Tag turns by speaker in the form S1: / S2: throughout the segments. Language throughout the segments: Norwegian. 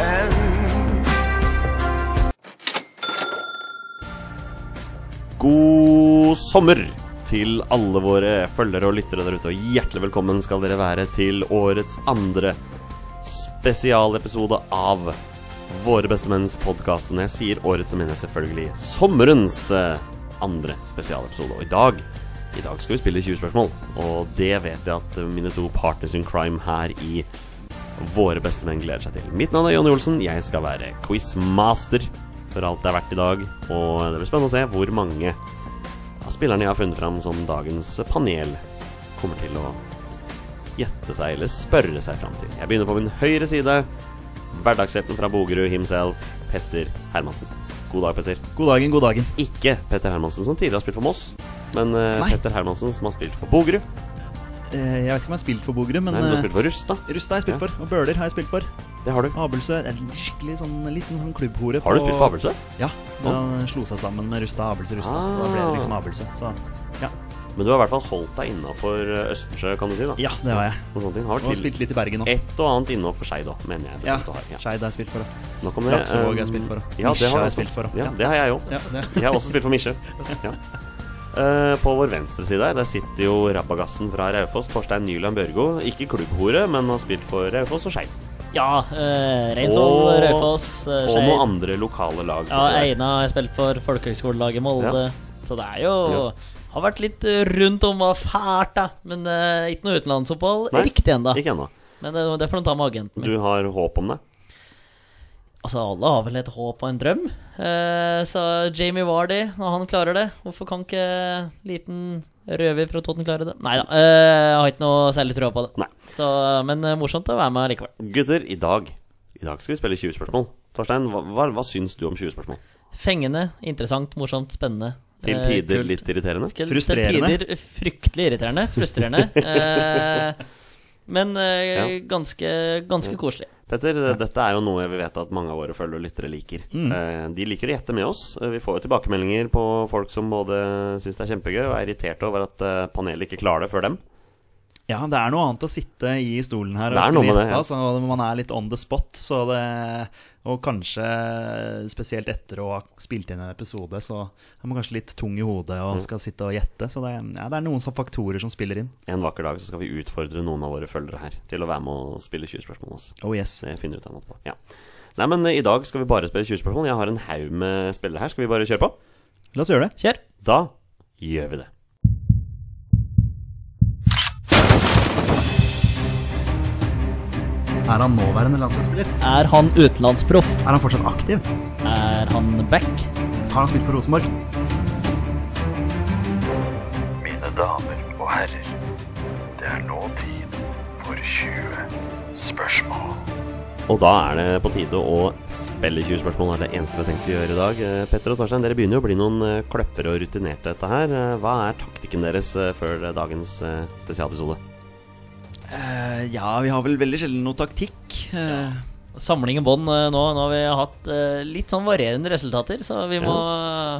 S1: menn.
S2: God sommer til alle våre følgere og lyttere der ute, og hjertelig velkommen skal dere være til årets andre spesialepisode av Våre bestemenns podkast. Og når jeg sier årets, så mener jeg selvfølgelig sommerens eh, andre spesialepisode. Og i dag i dag skal vi spille 20 spørsmål, og det vet jeg at eh, mine to partners in crime her i våre bestemenn gleder seg til. Mitt navn er Jonny Olsen. Jeg skal være quizmaster for alt det er verdt i dag. Og det blir spennende å se hvor mange av spillerne jeg har funnet fram som dagens panel kommer til å gjette seg eller spørre seg fram til. Jeg begynner på min høyre side. Hverdagshelten fra Bogerud himself, Petter Hermansen. God dag, Petter.
S3: God dagen, god dagen.
S2: Ikke Petter Hermansen, som tidligere har spilt for Moss, men eh,
S3: Nei.
S2: Petter Hermansen, som har spilt for Bogerud.
S3: Eh, Jeg vet ikke om jeg har spilt for Bogerud, men
S2: Nei, du har
S3: eh,
S2: spilt for Rusta.
S3: Rusta har jeg spilt
S2: Ja.
S3: for, og Bøler har jeg spilt for.
S2: Det har du.
S3: Abelse er en skikkelig sånn liten sånn klubbhore.
S2: Har du
S3: på-
S2: spilt for Abelse?
S3: Ja. Da slo seg sammen med Rusta Abelse Rusta, så da ble det
S2: Ah.
S3: liksom Abelse. Så ja,
S2: Men du har i hvert fall holdt deg innafor Østensjø, kan du si. da
S3: ja det har jeg.
S2: Noen sånne ting
S3: Og
S2: har
S3: har
S2: vært til
S3: spilt litt i Bergen òg.
S2: Et og annet innafor Skeid òg, mener
S3: Ja.
S2: jeg. bestemt å ha. Ja.
S3: Skeid har jeg spilt for. da.
S2: Nok om det.
S3: Laksevåg har jeg
S2: Um,
S3: spilt for, da.
S2: Ja,
S3: Misje
S2: det
S3: har
S2: har
S3: jeg
S2: jeg også.
S3: spilt for, da.
S2: Ja,
S3: Ja.
S2: det har jeg òg.
S3: Ja, det.
S2: Jeg har også spilt for Misje. Ja. Eh, på vår venstre side her, der sitter jo rabagassen fra Raufoss, Torstein Nyland Børgo. Ikke klubbhore, men har spilt for Raufoss og Skeid.
S4: Ja, eh, Reinsvoll,
S2: Og-
S4: Raufoss, eh,
S2: Og noen
S4: Skeid.
S2: andre lokale lag.
S4: Ja, Eina har jeg spilt for folkehøgskolelaget Molde. Så det er jo
S2: Ja.
S4: Har vært litt eh, rundt om hva fælt, da. Men eh, ikke noe utenlandsopphold
S2: Nei,
S4: riktig ennå.
S2: Ikke ennå.
S4: Men eh, det, det får de ta med agenten min.
S2: Du har håp om det?
S4: Altså, alle har vel et håp og en drøm. Eh, så Jamie Vardy, når han klarer det, hvorfor kan ikke liten røver fra Toten klare det? Nei da, eh, jeg har ikke noe særlig trua på det.
S2: Nei.
S4: Så, men eh, morsomt å være med likevel.
S2: Gutter, i dag I dag skal vi spille 20 spørsmål. Torstein, hva, hva, hva syns du om 20 spørsmål?
S4: Fengende, interessant, morsomt, spennende.
S2: Til
S4: eh,
S2: tider
S4: kult.
S2: litt irriterende?
S4: Til-
S3: Frustrerende.
S4: Til tider fryktelig irriterende. Frustrerende. eh, men eh, ganske, ganske koselig.
S2: Petter, dette er jo noe vi vet at mange av våre følgere og lyttere liker.
S4: Mm.
S2: Eh, De liker å gjette med oss. Eh, Vi får jo tilbakemeldinger på folk som både syns det er kjempegøy og er irriterte over at eh, panelet ikke klarer det før dem.
S3: Ja, det er noe annet å sitte i stolen her
S2: Det
S3: og
S2: er noe
S3: skulle
S2: med det,
S3: gjette,
S2: ja.
S3: altså. og Man er litt on the spot, så det Og kanskje spesielt etter å ha spilt inn en episode, så er man kanskje litt tung i hodet og
S2: Mm.
S3: skal sitte og gjette. Så det, ja, det er noen sånne faktorer som spiller inn.
S2: En vakker dag så skal vi utfordre noen av våre følgere her til å være med og spille 20 spørsmål med oss.
S3: Oh yes.
S2: Det finner vi ut av noe på. Ja. Nei, men eh, i dag skal vi bare spille 20 spørsmål. Jeg har en haug med spillere her. Skal vi bare kjøre på?
S3: La oss gjøre det.
S4: Kjør!
S2: Da gjør vi det.
S3: Er han nåværende landslagsspiller?
S4: Er han utenlandsproff?
S3: Er han fortsatt aktiv?
S4: Er han back?
S3: Har han spilt for Rosenborg?
S5: Mine damer og herrer, det er nå tid for 20 spørsmål.
S2: Og da er det på tide å spille 20 spørsmål, er det eneste vi har tenkt å gjøre i dag. Eh, Petter og Torstein, dere begynner jo å bli noen eh, kløppere og rutinerte dette her. Eh, Hva er taktikken deres eh, før eh, dagens eh, spesialepisode?
S3: Eh, ja, vi har vel veldig sjelden noe taktikk. Eh,
S4: Samling i bånn eh, nå. Nå har vi hatt eh, litt sånn varierende resultater, så vi må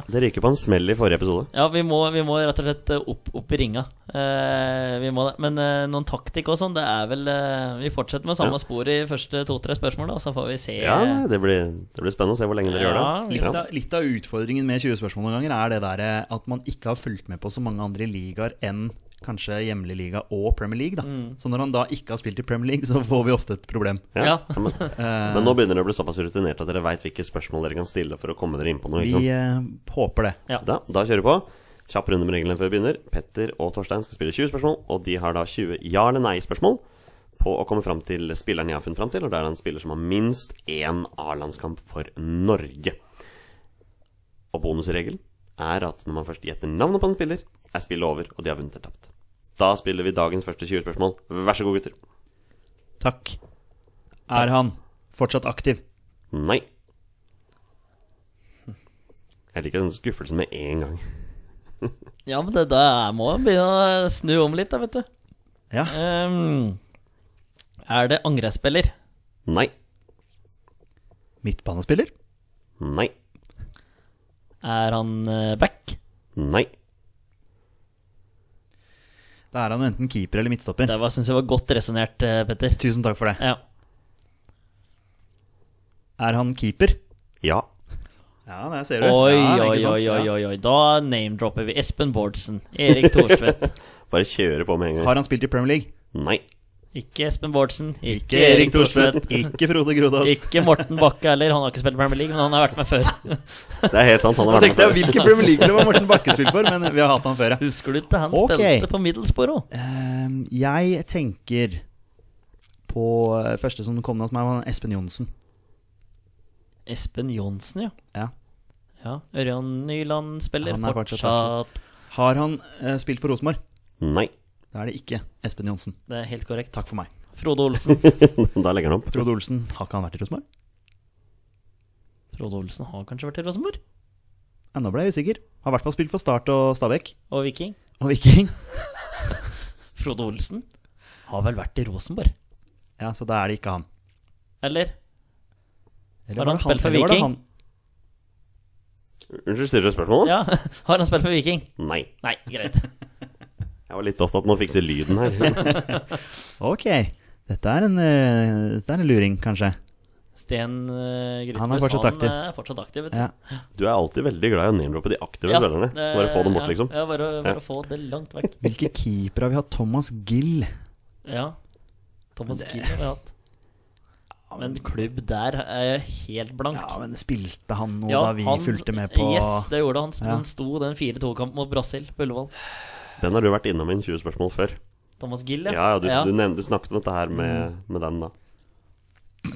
S2: Dere gikk jo på en smell i forrige episode.
S4: ja, vi må, vi må rett og slett eh, opp, opp i ringa. Eh, vi må det. Men eh, noen taktikk og sånn, det er vel eh, Vi fortsetter med
S2: Ja.
S4: samme spor i første to-tre spørsmål, da, så får vi se.
S2: Ja, nei, det blir, det blir spennende å se hvor lenge dere
S4: Ja,
S2: gjør
S3: Litt
S2: det.
S3: av, litt av utfordringen med 20 spørsmål noen ganger er det der eh, at man ikke har fulgt med på så mange andre ligaer enn kanskje hjemlig liga og Premier League. da.
S4: Mm.
S3: Så når han da ikke har spilt i Premier League, så får vi ofte et problem.
S2: Ja.
S4: Ja.
S2: Ja, men, men nå begynner dere å bli såpass rutinert at dere veit hvilke spørsmål dere kan stille for å komme dere inn på noe.
S3: Vi
S2: Ikke sant?
S3: eh, håper det.
S4: Ja.
S2: Da, da kjører vi på. Kjapp runde med reglene før vi begynner. Petter og Torstein skal spille 20 spørsmål, og de har da 20 ja- eller nei-spørsmål på å komme fram til spilleren jeg har funnet fram til, og det er da en spiller som har minst én A-landskamp for Norge. Og bonusregelen er at når man først gjetter navnet på en spiller, er spillet over, og de har vunnet eller tapt. Da spiller vi dagens første 20 spørsmål. Vær så god, gutter.
S3: Takk. Er han fortsatt aktiv?
S2: Nei. Jeg liker den skuffelsen med en gang.
S4: Ja, men det der jeg må jeg begynne å snu om litt, da, vet du.
S3: Ja.
S4: Ehm, er det angrepsspiller?
S2: Nei.
S3: Midtbanespiller?
S2: Nei.
S4: Er han eh, back?
S2: Nei.
S3: Da er han jo enten keeper eller midtstopper.
S4: Det var, synes jeg var godt resonnert, eh, Petter.
S3: Tusen takk for det.
S4: Ja.
S3: Er han keeper?
S2: Ja.
S3: Ja, der ser du.
S4: Oi,
S3: ja, ikke
S4: oi,
S3: sant?
S4: oi,
S3: Ja.
S4: oi, oi, oi. Da name-dropper vi Espen Bårdsen. Erik Thorstvedt.
S2: Bare kjøre på med en gang.
S3: Har han spilt i Premier League?
S2: Nei.
S4: Ikke Espen Bårdsen. Ikke
S3: Ikke
S4: Erik Thorstvedt.
S3: Ikke Frode Grodås.
S4: Ikke Morten Bakke heller. Han har ikke spilt Premier League, men han har vært med før.
S2: Det er helt sant.
S3: Da
S2: Han har vært
S3: tenkte jeg
S2: med før.
S3: hvilken Premier League-klubb har Morten Bakke spilt for, men vi har hatt han før. ja.
S4: Husker du ikke? Han
S3: Ok.
S4: spilte på Middlesbrough.
S3: Ehm, jeg tenker på eh, første som kom ned hos meg, var Espen Johnsen.
S4: Espen Johnsen, ja.
S3: Ja.
S4: ja. Ørjan Nyland spiller
S3: Han er fortsatt
S4: fortsatt.
S3: Har han eh, spilt for Rosenborg?
S2: Nei.
S3: Da er det ikke Espen Johnsen.
S4: Det er helt korrekt.
S3: Takk for meg.
S4: Frode Olsen.
S2: Da legger han opp.
S3: Frode Olsen, har ikke han vært i Rosenborg?
S4: Frode Olsen har kanskje vært i Rosenborg?
S3: Ja, nå ble jeg usikker. Har i hvert fall spilt for Start og Stabæk.
S4: Og Viking?
S3: Og Viking.
S4: Frode Olsen har vel vært i Rosenborg?
S3: Ja, så da er det ikke han.
S4: Eller?
S3: Eller
S4: Har
S3: var
S4: han
S3: det
S4: spilt for
S3: eller var det
S4: Viking?
S3: han-
S2: Unnskyld, stiller du spørsmålet?
S4: Ja, har han spilt for Viking?
S2: Nei.
S4: Nei, greit.
S2: Jeg var litt opptatt med å fikse lyden her.
S3: Ok, dette er en, eh, dette er en luring, kanskje.
S4: Sten uh, Grytmus,
S3: Han er fortsatt aktiv.
S4: er eh, fortsatt aktiv, vet du.
S3: Ja.
S2: Du er alltid veldig glad i å name-droppe de aktive spillerne.
S4: det-
S2: Bare få dem bort,
S4: ja,
S2: liksom.
S4: Ja, bare, bare
S2: Ja.
S4: få det langt vekk.
S3: Hvilke keepere har vi hatt? Thomas Gill.
S4: Ja. Thomas Kiel har vi hatt. Men klubb der er jeg helt blank.
S3: Ja, men spilte han noe
S4: Ja,
S3: da vi
S4: han-
S3: fulgte med på
S4: Yes, det gjorde han.
S3: Ja.
S4: Han sto den 4-2-kampen mot Brasil på Ullevål.
S2: Den har du vært innom i en 20 spørsmål før.
S4: Thomas Gill,
S2: Ja, ja, du, du nevnte du snakket om dette her med, med den, da.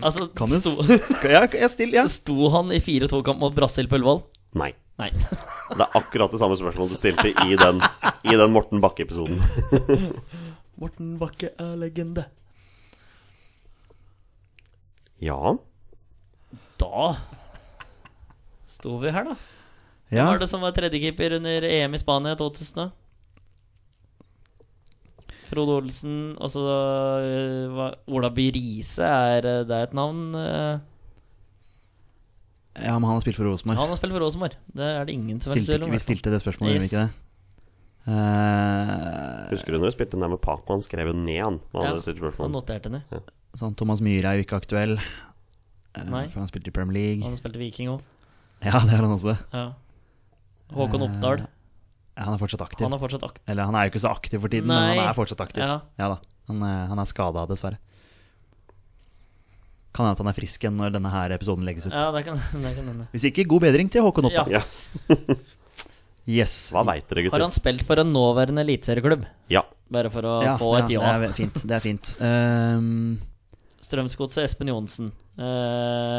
S4: altså,
S3: Kan du
S4: sto,
S3: Ja, jeg stiller, ja.
S4: sto han i 4-2-kamp mot Brasil på Ullevål?
S2: Nei.
S4: Nei.
S2: Det er akkurat det samme spørsmålet du stilte i den, i den Morten Bakke-episoden.
S4: Morten Bakke er legende.
S2: Ja.
S4: Da sto vi her, da. Hvem
S3: ja.
S4: var det som var tredjekeeper under EM i Spania 2000? Frode Olsen, og så øh, hva- Ola By Riise, er øh, det et navn? øh?
S3: ja, men han har spilt for Rosenborg.
S4: Han har spilt for Rosenborg. Det er det ingen som er i
S3: Stilte
S4: tvil om.
S3: ikke- Vi stilte det spørsmålet, gjorde vi
S4: Yes.
S3: ikke det? Eh,
S2: Husker du når du spilte den der med Paco? Han skrev jo ned han. Hva
S4: Ja,
S2: hadde du stilt
S4: Han
S2: spørsmål om?
S4: noterte henne.
S3: sånn, Thomas Myhre er jo ikke aktuell, eh,
S4: Nei.
S3: for han spilte i Premier League.
S4: Han spilte Viking òg.
S3: Ja, det er han også.
S4: Ja. Håkon
S3: Eh,
S4: Oppdal.
S3: Ja, han er fortsatt aktiv.
S4: Han er fortsatt aktiv.
S3: Eller han er jo ikke så aktiv for tiden,
S4: Nei.
S3: men han er fortsatt aktiv.
S4: Ja.
S3: da. Han, eh, han er skada, dessverre. Kan hende at han er frisk igjen når denne her episoden legges ut.
S4: Ja, det kan det kan hende.
S3: Hvis ikke, god bedring til Håkon Oppdal.
S2: Ja.
S3: Yes.
S2: Hva veit dere,
S4: Har
S2: gutter?
S4: han spilt for en nåværende eliteserieklubb?
S2: Ja.
S4: Bare for å
S3: Ja,
S4: få et ja.
S3: Det er fint. Det er fint. Ehm,
S4: Strømsgodset Espen Johnsen. Eh,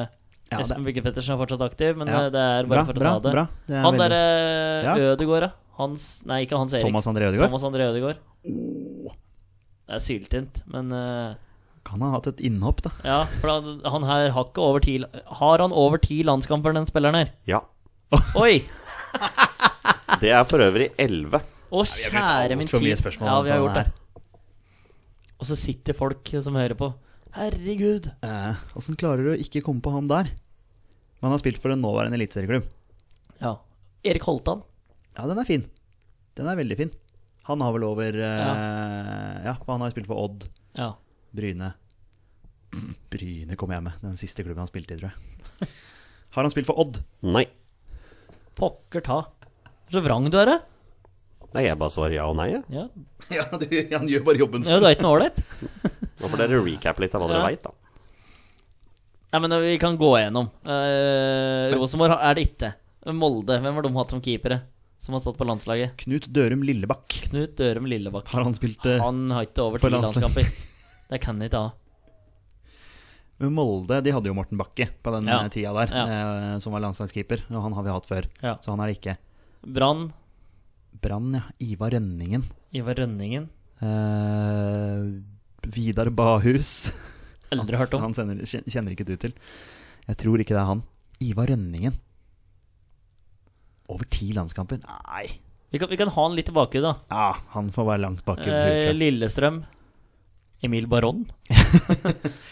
S3: ja, det-
S4: Espen Bygge Pettersen er fortsatt aktiv, men
S3: Ja.
S4: eh, det er
S3: Bra,
S4: bare for å
S3: bra,
S4: ta det.
S3: bra. Det er
S4: han
S3: veldig-
S4: derre eh,
S3: Ja.
S4: Ødegård, ja. Hans Nei, ikke Hans Erik.
S3: Thomas André Oh. Ødegaard.
S4: Thomas André Ødegaard. Det er syltynt, men eh,
S3: Kan ha hatt et innhopp, da.
S4: Ja, for han, han her har ikke over ti la- Har han over ti landskamper, den spilleren her?
S2: ja.
S4: Oi!
S2: Det er for øvrig 11.
S4: Å, kjære min
S3: altfor
S4: tid.
S3: mye spørsmål
S4: Ja,
S3: om
S4: vi har
S3: denne
S4: gjort
S3: her.
S4: det. Og så sitter folk som hører på. Herregud.
S3: Åssen klarer du å ikke komme på han der? Men han har spilt for en nåværende eliteserieklubb.
S4: Ja. Erik Holtan.
S3: Ja, den er fin. Den er veldig fin. Han har vel over eh, ja. for han har spilt for Odd,
S4: Ja.
S3: Bryne Bryne kom jeg med. Det er Den siste klubben han spilte i, tror jeg. Har han spilt for Odd?
S2: Nei.
S4: Pokker ta. Så vrang du er, da.
S2: Nei, jeg bare svarer ja og nei. jeg.
S4: Ja.
S3: Ja, du, han gjør bare jobben
S4: ja, du er ikke noe ålreit?
S2: Nå får dere recap litt av hva dere
S4: Ja.
S2: veit, da.
S4: Nei, men vi kan gå gjennom. Eh, Rosenborg er det ikke. Molde, hvem har de hatt som keepere? Som har stått på landslaget?
S3: Knut Dørum Lillebakk.
S4: Knut Dørum Lillebakk.
S3: Har han spilt eh,
S4: Han har ikke over
S3: på
S4: ti
S3: landslaget.
S4: landskamper. Det kan han ikke ha.
S3: med Molde? De hadde jo Morten Bakke på den
S4: Ja.
S3: eh, tida der,
S4: Ja.
S3: eh, som var landslagskeeper. Og han har vi hatt før,
S4: Ja.
S3: så han er det ikke.
S4: Brann,
S3: Brann, ja. Ivar Rønningen.
S4: Ivar Rønningen.
S3: Eh, Vidar Bahus.
S4: Aldri hørt om.
S3: Han sender, kjen- kjenner ikke du til. Jeg tror ikke det er han. Ivar Rønningen. Over ti landskamper? Nei.
S4: Vi kan, vi kan ha han litt i bakhodet, da.
S3: Ja, han får være langt bak i
S4: Eh,
S3: huet.
S4: Lillestrøm. Emil Baron.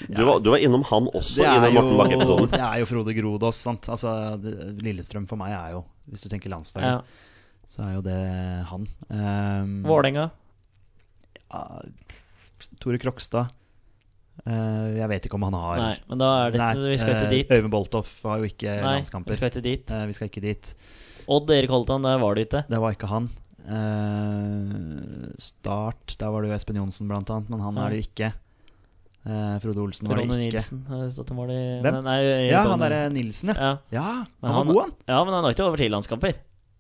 S2: Du var, du var innom han også i den Morten Bakke-episoden.
S3: det er jo Frode Grodås, sant. Altså, det- Lillestrøm for meg er jo, hvis du tenker landslaget,
S4: Ja.
S3: så er jo det han. ah, Um,
S4: Vålerenga.
S3: Tore Krokstad. Eh, jeg vet ikke om han har
S4: Nei, men da er det ikke Vi skal ikke
S3: eh,
S4: dit.
S3: Øyvind Boltoff har jo ikke
S4: Nei, vi
S3: landskamper.
S4: skal ikke dit.
S3: Eh, vi skal ikke dit.
S4: Odd Erik Holtan, der var du ikke.
S3: Det var ikke han. Eh, start, der var det jo Espen Johnsen, blant annet, men han
S4: Ja.
S3: er det jo ikke. Eh, Frode Olsen var det
S4: Ronny
S3: ikke.
S4: Nilsen. Har det stått om var det
S3: Hvem?
S4: Nei, Erik
S3: Ja,
S4: Holtan.
S3: han derre Nilsen, ja.
S4: ja.
S3: Ja,
S4: Men
S3: han var god, han.
S4: Ja, men han har ikke over ti landskamper.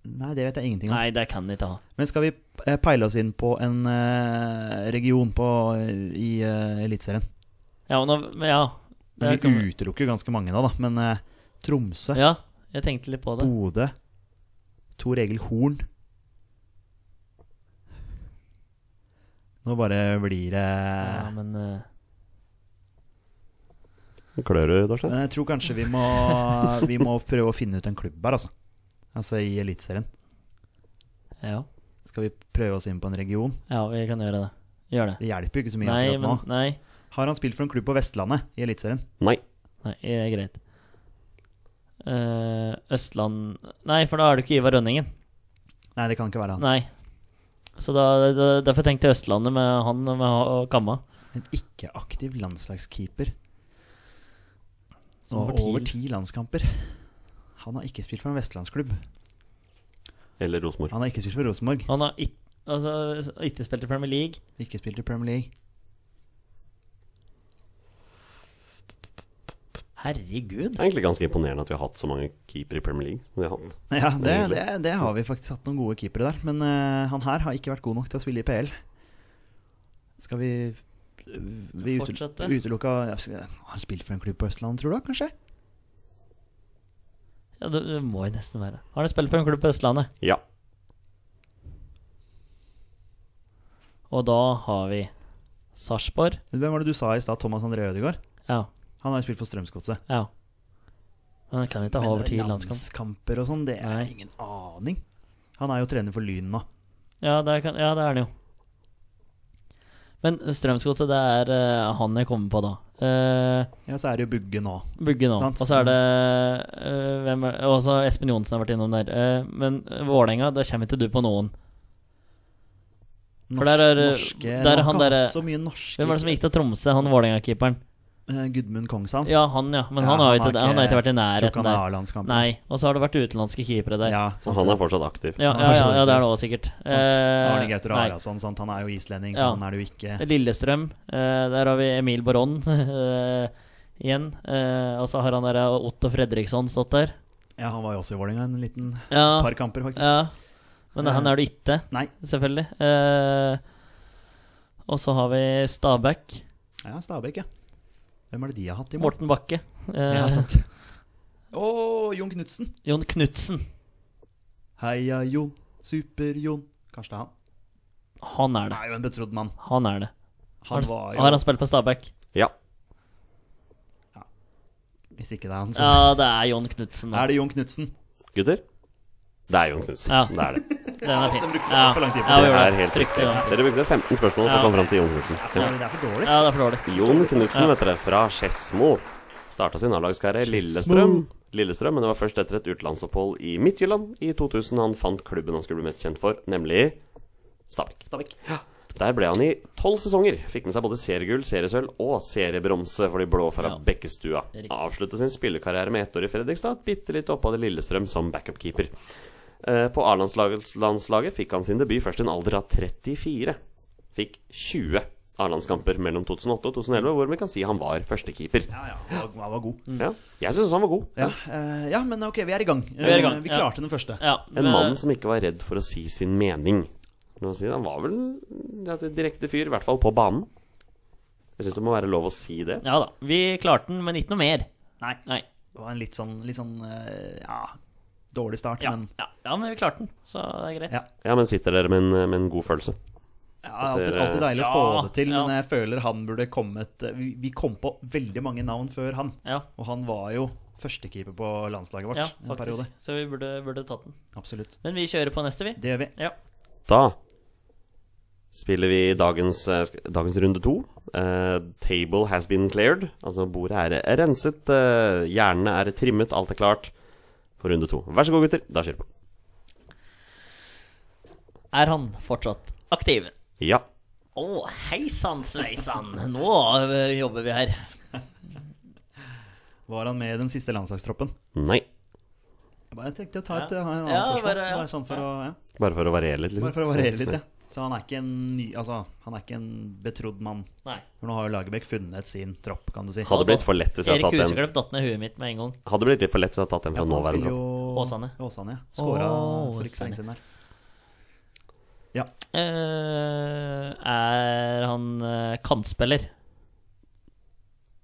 S3: Nei, det vet jeg ingenting om.
S4: Nei, det kan han ikke ha.
S3: Men skal vi eh, peile oss inn på en eh, region på, i uh, Eliteserien?
S4: Ja, men, da- men ja.
S3: Men
S4: Det
S3: Vi
S4: kan-
S3: utelukker jo ganske mange da, da. Men eh, Tromsø,
S4: ja, jeg tenkte litt på det.
S3: Bodø, Tor Egil Horn Nå bare blir det
S4: Ja, men eh,
S2: Klør du, Torstein?
S3: Men jeg tror kanskje vi må, vi må prøve å finne ut en klubb her, altså. Altså i Eliteserien.
S4: ja.
S3: Skal vi prøve oss inn på en region?
S4: ja, vi kan gjøre det. Gjør det.
S3: Det hjelper jo ikke så mye
S4: Nei, men,
S3: akkurat nå.
S4: nei,
S3: Har han spilt for en klubb på Vestlandet i Eliteserien?
S2: Nei.
S4: nei, det er greit. Eh, Østland Nei, for da er du ikke Ivar Rønningen.
S3: Nei, det kan ikke være han.
S4: Nei. Så da, da, derfor tenkte jeg Østlandet med han og med ha- og Kamma.
S3: En ikke-aktiv landslagskeeper.
S4: Som
S3: Og
S4: over ti-
S3: over ti landskamper. Han har ikke spilt for en vestlandsklubb.
S2: Eller Rosenborg.
S3: Han har ikke spilt for Rosenborg.
S4: Han har ikke, altså, ikke spilt i Premier League.
S3: Ikke spilt i Premier League.
S4: Herregud.
S2: Det er egentlig ganske imponerende at vi har hatt så mange keepere i Premier League. som Vi har hatt.
S3: Ja, det, det, det har vi faktisk hatt noen gode keepere der. Men eh, han her har ikke vært god nok til å spille i PL. Skal vi Vi utel-
S4: Fortsette.
S3: utelukka ja, skal- Har han spilt for en klubb på Østlandet, tror du? Kanskje?
S4: Ja, det, det må jo nesten være. Har han spilt for en klubb på Østlandet?
S2: Ja.
S4: Og da har vi Sarpsborg.
S3: Hvem var det du sa i stad? Thomas André Ødegaard?
S4: Ja.
S3: Han har jo spilt for Strømsgodset.
S4: ja. Men han kan ikke ha over ti
S3: Men eh,
S4: landskamp.
S3: landskamper og sånn, det er
S4: Nei.
S3: ingen aning. Han er jo trener for Lyn nå.
S4: Ja, det kan, ja, det er han jo. Men Strømsgodset, det er eh, han jeg kommer på da. Eh,
S3: Ja, så er det jo Bugge nå.
S4: Bugge nå.
S3: Sant.
S4: Og så er det eh, hvem er, Og så Espen Johnsen har vært innom der. Eh, men Vålerenga, da kommer ikke du på noen.
S3: Norsk,
S4: For der er,
S3: norske,
S4: der
S3: han har
S4: er han
S3: ikke
S4: der-
S3: hatt så mye norske
S4: Hvem var det som gikk til Tromsø? Han Vålerenga-keeperen.
S3: Eh, Gudmund Kongshavn.
S4: Ja, han, ja. Men
S3: Ja,
S4: han har jo
S3: han
S4: ikke,
S3: har
S4: han har
S3: ikke-
S4: ikke vært i
S3: Jeg tror ikke
S4: nærheten
S3: han er
S4: der.
S3: A-landskamp.
S4: Nei. Og så har det vært utenlandske keepere der. Ja,
S3: Ja,
S2: Så
S3: sant,
S2: han
S3: det.
S2: er fortsatt aktiv.
S4: ja,
S3: Han
S4: ja,
S3: har
S4: ja,
S3: skjønt
S4: det
S3: det.
S4: er det òg, sikkert.
S3: Sant.
S4: Eh,
S3: Arne altså. Gauter
S4: nei.
S3: Arason, sant. altså, Han er jo islending, så
S4: Ja.
S3: han er det jo ikke.
S4: Lillestrøm. eh, der har vi Emil Baron eh, igjen. Eh, og så har han der eh, Otto Fredriksson stått der.
S3: Ja, han var jo også i Vålerenga en liten
S4: Ja,
S3: par kamper, faktisk.
S4: ja. Men han er du ikke,
S3: Nei.
S4: selvfølgelig. Eh, og så har vi Stabæk.
S3: Ja, Stabæk, ja. Hvem er det de har hatt i mål?
S4: Morten Bakke. eh,
S3: Ja, sant. Å, Jon Knutsen.
S4: Jon Knutsen.
S3: Heia Jon. Super-Jon. Kanskje det er han?
S4: Han
S3: Han
S4: er det.
S3: er jo en betrodd mann.
S4: Han er det.
S3: Han var jo
S4: Har han spilt på Stabæk?
S2: Ja.
S3: Hvis ikke det er han, så
S4: Ja, det er Jon Knutsen. nå.
S3: Er det Jon Knutsen?
S2: Gutter? Det er Jon Knutsen.
S4: Ja.
S2: Det er det.
S4: Den er fin.
S3: den brukte
S4: Ja,
S3: for lang tid på.
S4: ja, vi
S2: Det
S4: gjorde
S2: er helt
S4: Trykte
S2: riktig.
S4: den.
S2: Dere brukte 15 spørsmål for
S4: Ja.
S2: å komme fram til Jon Knutsen. Ja.
S3: Det er for dårlig.
S4: Ja, det er for dårlig.
S2: Jon Knutsen, vet dere, fra Skedsmo. Starta sin A-lagskarriere i Lillestrøm. Lillestrøm, Men det var først etter et utenlandsopphold i Midtjylland i 2000 han fant klubben han skulle bli mest kjent for, nemlig Stabæk. Ja. Der ble han i tolv sesonger. Fikk med seg både seriegull, seriesølv og seriebronse for de blå fra
S4: Ja.
S2: Bekkestua.
S4: Riktig.
S2: Avsluttet sin spillekarriere med ett år i Fredrikstad, et bitte litt opphold i Lillestrøm som backup-keeper. Eh, På A-landslaget landslaget fikk han sin debut først i en alder av 34. Fikk 20 A-landskamper mellom 2008 og 2011, hvor vi kan si han var førstekeeper.
S3: Ja, ja. Han var- han var god.
S4: Mm.
S2: Ja. Jeg syns han var god.
S3: Ja, eh, ja, men ok, vi er i gang.
S4: Vi er i gang,
S3: Eh, vi
S4: ja.
S3: klarte den første.
S4: Ja,
S2: En
S4: men-
S2: mann som ikke var redd for å si sin mening. Nå sier Han var vel en direkte fyr, i hvert fall på banen. Jeg syns det må være lov å si det.
S4: Ja da. Vi klarte den, men ikke noe mer.
S3: Nei,
S4: Nei.
S3: det var en litt sånn, litt sånn eh, ja, dårlig start,
S4: Ja,
S3: men
S4: ja, ja, men vi klarte den, så det er greit.
S3: Ja.
S2: Ja, men sitter dere med en, med en god følelse?
S3: ja, alltid, alltid deilig å
S4: Ja,
S3: få det til.
S4: ja.
S3: Men jeg føler han burde kommet eh, Vi, vi kom på veldig mange navn før han.
S4: Ja,
S3: Og han var jo førstekeeper på landslaget vårt
S4: ja
S3: en periode.
S4: faktisk. Så vi burde, burde tatt den.
S3: Absolutt.
S4: Men vi kjører på neste, vi.
S3: Det gjør vi.
S4: Ja.
S2: Da spiller vi dagens, eh, sk- dagens runde to. Eh, table has been cleared. Altså bordet er eh, renset, eh, hjernene er trimmet, alt er klart for runde to. Vær så god, gutter. Da kjører vi på.
S4: Er han fortsatt aktiv?
S2: Ja.
S4: Å, hei sann, sveisann. Nå eh, jobber vi her.
S3: Var han med i den siste landslagstroppen?
S2: Nei.
S3: Jeg bare tenkte å ta et
S4: Ja.
S3: eh, annet
S4: Ja,
S3: spørsmål.
S4: bare, ja.
S3: Bare, sånn for Å, ja.
S2: Bare for å variere litt. liksom.
S3: bare for å variere litt, ja. Så han er ikke en ny Altså, han er ikke en betrodd mann.
S4: Nei.
S3: For nå har jo Lagerbäck funnet sin tropp, kan du si.
S2: Hadde blitt for lett hvis jeg
S4: Erik
S2: hadde tatt den
S4: Huseklepp datt ned huet mitt med en gang.
S2: Hadde blitt litt for lett hvis jeg hadde tatt den fra
S3: Ja, han
S2: nåværende.
S3: spiller
S2: tropp.
S3: jo
S4: Åsane.
S3: Åsane, ja. Skåra
S4: Å,
S3: for ikke så lenge siden der. Ja.
S4: Eh, er han eh, kantspiller?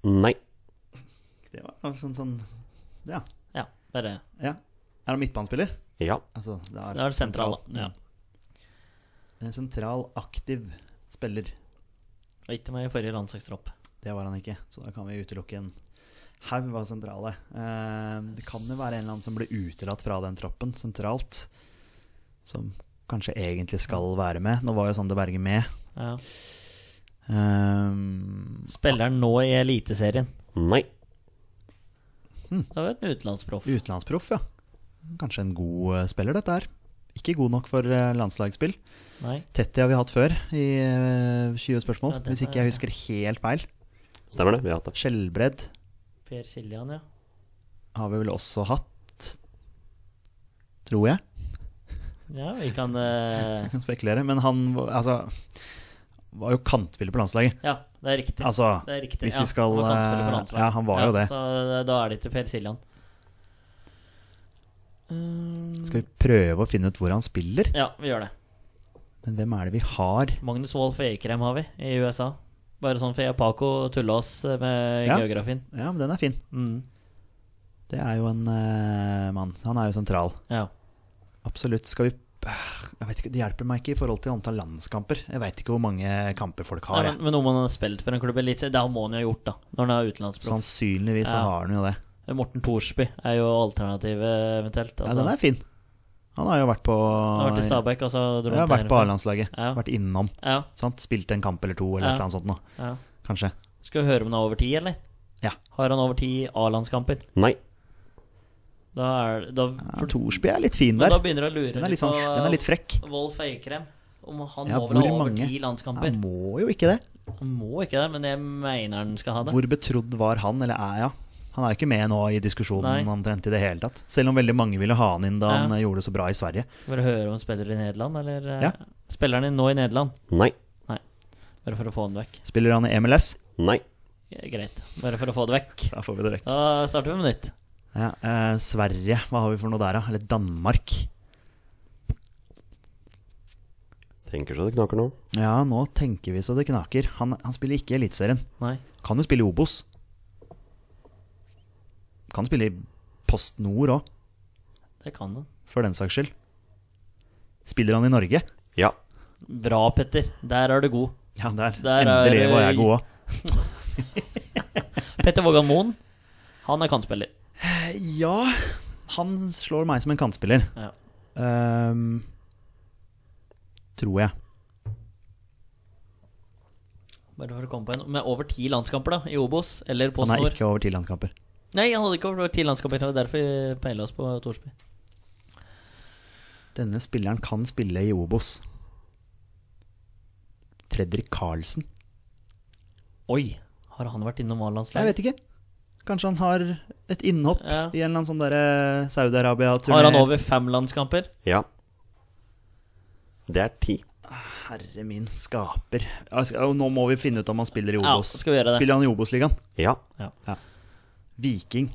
S2: Nei.
S3: Det var sånn, sånn Ja.
S4: Ja, bare
S3: ja. Er han midtbanespiller?
S2: Ja.
S3: Altså, det
S4: Så det er sentral, da. Ja.
S3: En sentral, aktiv spiller.
S4: Og ikke med i forrige landslagstropp.
S3: Det var han ikke, så da kan vi utelukke en haug av sentrale. Eh, det kan jo være en eller annen som ble utelatt fra den troppen sentralt, som kanskje egentlig skal være med. Nå var jo Sander Berge med.
S4: Ja.
S3: Eh,
S4: Spiller han nå i Eliteserien?
S2: Nei.
S4: Det var jo en utenlandsproff.
S3: utenlandsproff, ja. Kanskje en god eh, spiller, dette her. Ikke god nok for eh, landslagsspill.
S4: Nei.
S3: Tetty har vi hatt før i eh, 20 spørsmål,
S4: Ja, den
S3: hvis
S4: er-
S3: ikke jeg husker helt feil.
S2: Stemmer det? Vi har hatt det.
S3: Skjellbredd
S4: Per Siljan, ja.
S3: har vi vel også hatt, tror jeg.
S4: Ja, vi kan eh,
S3: Jeg kan spekulere, men han var- altså, var jo kantspiller på landslaget.
S4: Ja, det er riktig.
S3: Altså,
S4: det er riktig.
S3: hvis
S4: ja,
S3: vi skal
S4: han var kantspiller på
S3: eh,
S4: landslaget.
S3: Ja, han var jo det.
S4: Så eh, da er det ikke Per Siljan. Mm,
S3: Skal vi prøve å finne ut hvor han spiller?
S4: Ja, vi gjør det.
S3: Men hvem er det vi har?
S4: Magnus Wolff Eikrem har vi i USA. Bare sånn for jeg og Paco tulla oss eh, med
S3: Ja.
S4: geografien.
S3: Ja, men den er fin.
S4: Mm,
S3: Det er jo en eh, mann. Han er jo sentral.
S4: ja.
S3: Absolutt. Skal vi jeg vet ikke, Det hjelper meg ikke i forhold til antall landskamper. Jeg veit ikke hvor mange kamper folk har.
S4: Nei,
S3: jeg.
S4: men, men om han har spilt for en klubb i Eliteserien, det må han jo ha gjort, da. Når han er
S3: Sånn.
S4: utenlandsproff.
S3: Sannsynligvis så
S4: Ja.
S3: har han jo det.
S4: Morten Thorsby er jo alternativet, eventuelt.
S3: Ja,
S4: Altså,
S3: den er fin. Han har jo vært på
S4: Han har vært i Stabæk, altså, og så dro
S3: Ja,
S4: han til
S3: vært på
S4: Hereford.
S3: A-landslaget.
S4: Ja.
S3: Vært innom.
S4: Ja,
S3: Sant? Spilt en kamp eller to, eller
S4: Ja.
S3: et eller annet sånt nå.
S4: ja.
S3: Kanskje.
S4: Skal vi høre om han har over ti, eller?
S3: Ja.
S4: Har han over ti A-landskamper?
S2: Nei.
S4: Da er da,
S3: For Thorsby er litt fin
S4: Men
S3: der.
S4: da begynner jeg å lure
S3: Den er litt, sånn, den er litt frekk.
S4: på Wolf Eikrem. Om han
S3: Ja,
S4: må vel ha
S3: hvor
S4: over
S3: mange?
S4: ti landskamper.
S3: Han må jo ikke det.
S4: Han må ikke det, men jeg mener han skal ha det.
S3: Hvor betrodd var han, eller er ja? Han er jo ikke med nå i diskusjonen
S4: Nei.
S3: omtrent i det hele tatt. Selv om veldig mange ville ha han inn da
S4: Ja.
S3: han eh, gjorde det så bra i Sverige.
S4: Bare høre om han spiller i Nederland, eller eh,
S3: Ja.
S4: Spiller han i- nå i Nederland?
S2: Nei.
S4: Bare for å få han vekk.
S3: Spiller han i MLS?
S2: Nei.
S4: Ja, greit. Bare for å få det vekk.
S3: Da får vi det vekk. Ja.
S4: Da starter vi med nytt.
S3: eh, Sverige, hva har vi for noe der, da? Eller Danmark?
S2: Tenker så det knaker nå.
S3: Ja, nå tenker vi så det knaker. Han, han spiller ikke i Eliteserien.
S4: Nei.
S3: Kan jo spille i Obos. Kan spille i Post Nord òg,
S4: Det kan han.
S3: for den saks skyld. Spiller han i Norge?
S2: Ja.
S4: Bra, Petter. Der er du god.
S3: Ja, der.
S4: Der er-
S3: Endelig var jeg god òg.
S4: Petter Vågan Moen, han er kantspiller.
S3: Ja, han slår meg som en kantspiller.
S4: Ja.
S3: Ehm, tror jeg.
S4: Bare for å komme på en Med over ti landskamper, da, i Obos eller på
S3: Han er
S4: Snor.
S3: ikke over ti landskamper.
S4: Nei, han hadde ikke over ti landskamper. Det var derfor vi peila oss på Thorsby.
S3: Denne spilleren kan spille i Obos. Fredrik Karlsen?
S4: Oi, har han vært innom
S3: Jeg
S4: A-landslaget?
S3: vet ikke. Kanskje han har et innhopp
S4: Ja.
S3: i en eller annen sånn derre Saudi-Arabia-turné.
S4: Har han over fem landskamper?
S2: Ja. Det er ti.
S3: Herre min skaper. Altså, og nå må vi finne ut om han spiller i
S4: Ja,
S3: Obos.
S4: skal vi gjøre det.
S3: Spiller han i Obos-ligaen?
S2: Ja.
S3: Viking.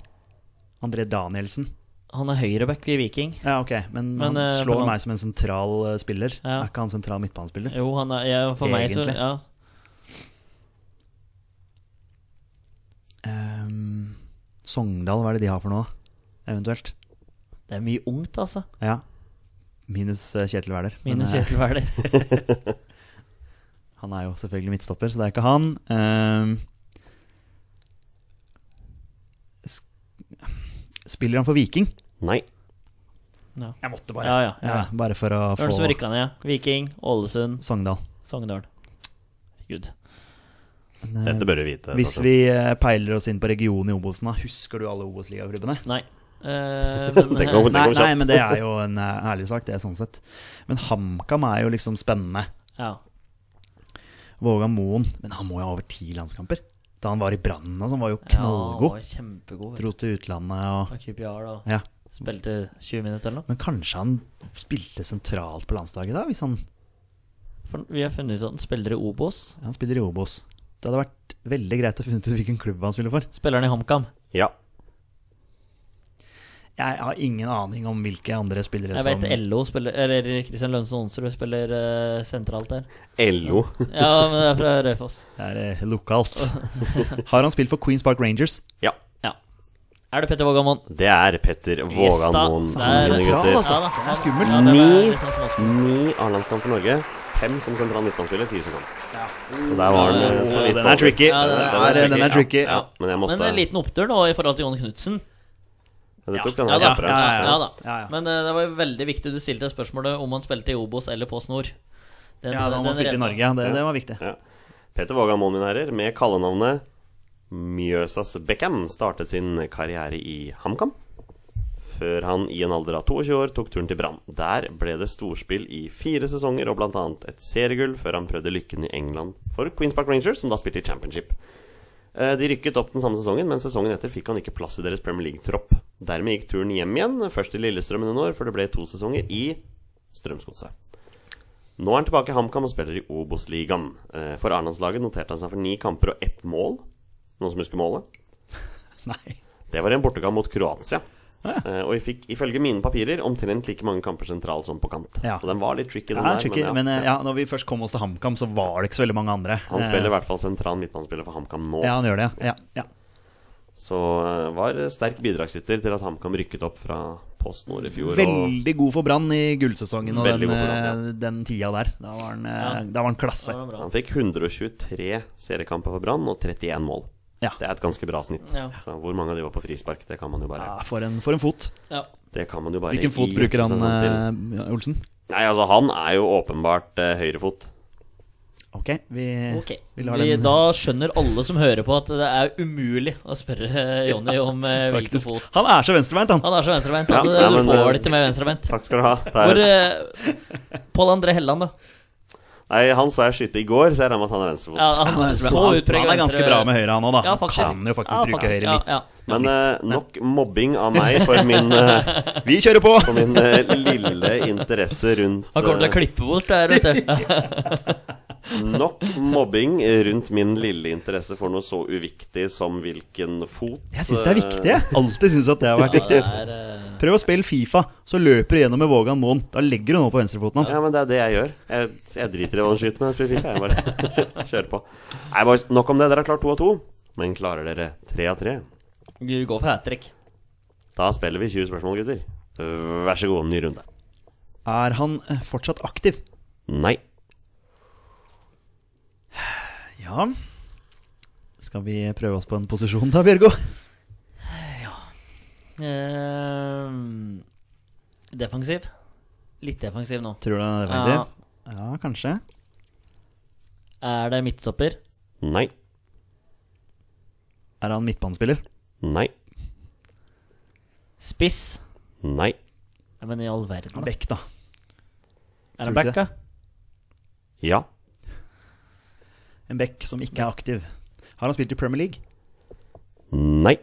S3: André Danielsen.
S4: Han er høyreback i Viking.
S3: Ja, ok, men,
S4: Men,
S3: han
S4: eh,
S3: slår
S4: Fernand-
S3: meg som en sentral eh, spiller.
S4: Ja.
S3: Er ikke han sentral midtbanespiller?
S4: Jo, han er ja, For meg, så
S3: Egentlig.
S4: ja.
S3: Ehm, Sogndal, hva er det de har for noe, eventuelt?
S4: Det er mye ungt, altså.
S3: Ja. Minus eh, Kjetil Wæler. Men,
S4: Minus
S3: eh,
S4: Kjetil Wæler.
S3: Han er jo selvfølgelig midtstopper, så det er ikke han. Ehm, sk- Spiller han for Viking?
S2: Nei.
S4: Ja.
S3: Jeg måtte
S4: bare. Ja, ja, ja.
S3: bare for å
S4: Hvem er det som
S3: få
S4: rykka ned? ja? Viking, Ålesund,
S3: Sogndal.
S4: Sogndal. Herregud.
S3: Men, eh,
S2: Dette bør du vite. altså.
S3: Hvis
S2: Tasse.
S3: vi eh, peiler oss inn på regionen i Obosen, da, husker du alle Obos-ligaklubbene?
S4: Nei. Eh, men,
S2: Det går- det
S4: eh,
S3: Nei,
S2: går
S3: nei,
S2: kjapt.
S3: men det er jo en eh,
S4: eh,
S3: ærlig sak, det er sånn sett. Men HamKam er jo liksom spennende.
S4: ja.
S3: Våga Moen. Men han må jo ha over ti landskamper. Da han var i Brann og sånn, var jo
S4: Ja, han var
S3: knallgod.
S4: kjempegod. vet
S3: Dro til utlandet og
S4: du. Og QPR da.
S3: Ja.
S4: Spilte 20 minutter eller noe.
S3: Men kanskje han spilte sentralt på landslaget da, hvis han,
S4: For Vi har funnet ut at han spiller i Obos.
S3: han spiller i Obos. Det hadde vært veldig greit å finne ut hvilken klubb han spiller for.
S4: Spiller han i HamKam?
S2: Ja.
S3: Jeg har ingen aning om hvilke andre spillere
S4: Jeg
S3: som
S4: vet LO spiller Eller Kristian Lønsen Onsrud spiller eh, sentralt der.
S2: LO.
S4: Ja, men det er fra Raufoss.
S3: er eh, lokalt. Har han spilt for Queens Park Rangers?
S2: Ja.
S4: Ja. Er det Petter Vågamon?
S2: Det er Petter Vågan
S4: da.
S2: Moen,
S4: Så
S3: han er
S2: mine
S3: sentral,
S2: gutter.
S3: altså. Det er skummelt.
S4: Ja, det er
S2: Ni.
S4: litt sånn småskummelt.
S2: Ni A-landskamp for Norge. Fem som sentral midtbanespiller, fire som kamp. Så der var den
S4: Ja,
S2: eh, så vidt
S3: den er
S2: over.
S3: tricky.
S4: Ja, den
S3: Den er- den er tricky.
S2: Ja, men jeg måtte
S4: Men en liten opptur nå i forhold til Jon Knutsen.
S2: Du tok den
S4: Ja
S2: her
S4: da.
S2: kjappere.
S4: Ja,
S3: ja, ja.
S4: da.
S3: Ja, ja.
S4: Men eh, det var jo veldig viktig du stilte spørsmålet om han spilte i Obos eller på Snor. Den-
S3: Ja, da han
S4: den
S3: spilte i
S4: redda-
S3: Norge. Det, det var viktig.
S2: Ja. Peter Vågan Moen, mine herrer, med kallenavnet Mjøsas Beckham, startet sin karriere i HamKam. Før han i en alder av 22 år tok turen til Brann. Der ble det storspill i fire sesonger og bl.a. et seriegull før han prøvde lykken i England for Queens Park Rangers, som da spilte i Championship. Eh, De rykket opp den samme sesongen, men sesongen etter fikk han ikke plass i deres Premier League-tropp. Dermed gikk turen hjem igjen, først til Lillestrøm i noen år, for det ble to sesonger i Strømsgodset. Nå er han tilbake i HamKam og spiller i Obos-ligaen. Eh, For Arendalslaget noterte han seg for ni kamper og ett mål. Noen som husker målet?
S3: Nei.
S2: Det var i en bortekamp mot Kroatia. Eh, Og vi fikk ifølge mine papirer omtrent like mange kamper sentralt som på kant.
S3: Ja.
S2: Så den var litt tricky, den
S3: Ja,
S2: der.
S3: tricky,
S2: men ja.
S3: men eh, ja, når vi først kom oss til HamKam, så var det ikke så veldig mange andre.
S2: Han spiller i
S3: Eh,
S2: hvert fall sentral midtbanespiller for HamKam nå.
S3: Ja, han gjør det, ja. ja, ja.
S2: Så eh, var sterk bidragsyter til at HamKam rykket opp fra Post Nord i fjor. Og
S3: Veldig god for Brann i gullsesongen og den,
S2: Veldig god for Brann,
S3: eh, den tida der. Da var han, eh,
S4: Ja.
S3: da var han
S4: Ja,
S3: klasse.
S4: det var bra.
S2: han fikk 123 seriekamper for Brann og 31 mål.
S3: Ja.
S2: Det er et ganske bra snitt.
S4: Ja.
S2: Så hvor mange av de var på frispark, det kan man jo bare,
S3: Ja, for, en, for en fot.
S4: Ja.
S2: det kan man jo bare
S3: Hvilken fot
S2: gi
S3: bruker han,
S2: seg sånn til.
S3: eh, ja, Olsen?
S2: Nei, altså han er jo åpenbart eh, høyrefot.
S3: Ok, vi,
S4: Ok.
S3: vi lar
S4: Vi-
S3: den
S4: Da skjønner alle som hører på, at det er umulig å spørre eh, Jonny om eh, hvilken
S3: faktisk.
S4: fot.
S3: Han er så venstrebeint, han!
S4: Han er så venstrebeint
S2: Ja,
S4: at
S2: nei,
S4: du
S2: men, eh,
S4: får det ikke med venstrebeint.
S2: Takk skal du ha.
S4: Hvor
S2: Det er,
S4: eh, Pål André Helland, da.
S2: nei, han så jeg skyte i går, så jeg regner med at han er venstrefot.
S4: Ja, han,
S3: Han er,
S4: så
S3: han,
S4: utpreget
S3: han er ganske
S4: venstre-
S3: bra med høyre, han òg, da.
S4: Ja,
S3: han
S4: faktisk.
S3: kan jo faktisk
S4: Ja,
S3: bruke
S4: faktisk,
S3: høyre
S4: ja,
S3: litt.
S4: ja.
S2: Men eh, nok mobbing av meg for min, eh,
S3: Vi kjører på!
S2: for min eh, lille interesse rundt
S4: Han kommer til å
S2: eh,
S4: klippe bort der, vet du.
S2: Nok mobbing rundt min lille interesse for noe så uviktig som hvilken fot
S3: Jeg syns det er viktig. Jeg alltid syns at det har vært
S4: Ja,
S3: viktig.
S4: det er, eh,
S3: Prøv å spille Fifa, så løper du gjennom med Vågan Moen. Da legger du nå på venstrefoten hans.
S2: Ja, men det er det jeg gjør. Jeg, jeg driter i hva han skyter med. Jeg spiller FIFA, jeg bare kjører på. Nei, boys, nok om det. Dere har klart to av to. Men klarer dere tre av tre?
S4: Du går for hat trick.
S2: Da spiller vi 20 spørsmål, gutter. Vær så god, ny runde.
S3: Er han eh, fortsatt aktiv?
S2: Nei.
S3: Ja Skal vi prøve oss på en posisjon da, Bjørgo?
S4: Eh, defensiv. Litt defensiv nå.
S3: Tror du han er defensiv? Ja, kanskje.
S4: Er det midtstopper?
S2: Nei.
S3: Er han midtbanespiller?
S2: Nei.
S4: Spiss?
S2: Nei.
S4: Ja, men i all verden. da.
S3: Bekk, da.
S4: Er det
S3: tror du ikke
S4: back, da?
S2: Ja.
S3: En bekk som ikke er aktiv. Har han spilt i Premier League?
S2: Nei.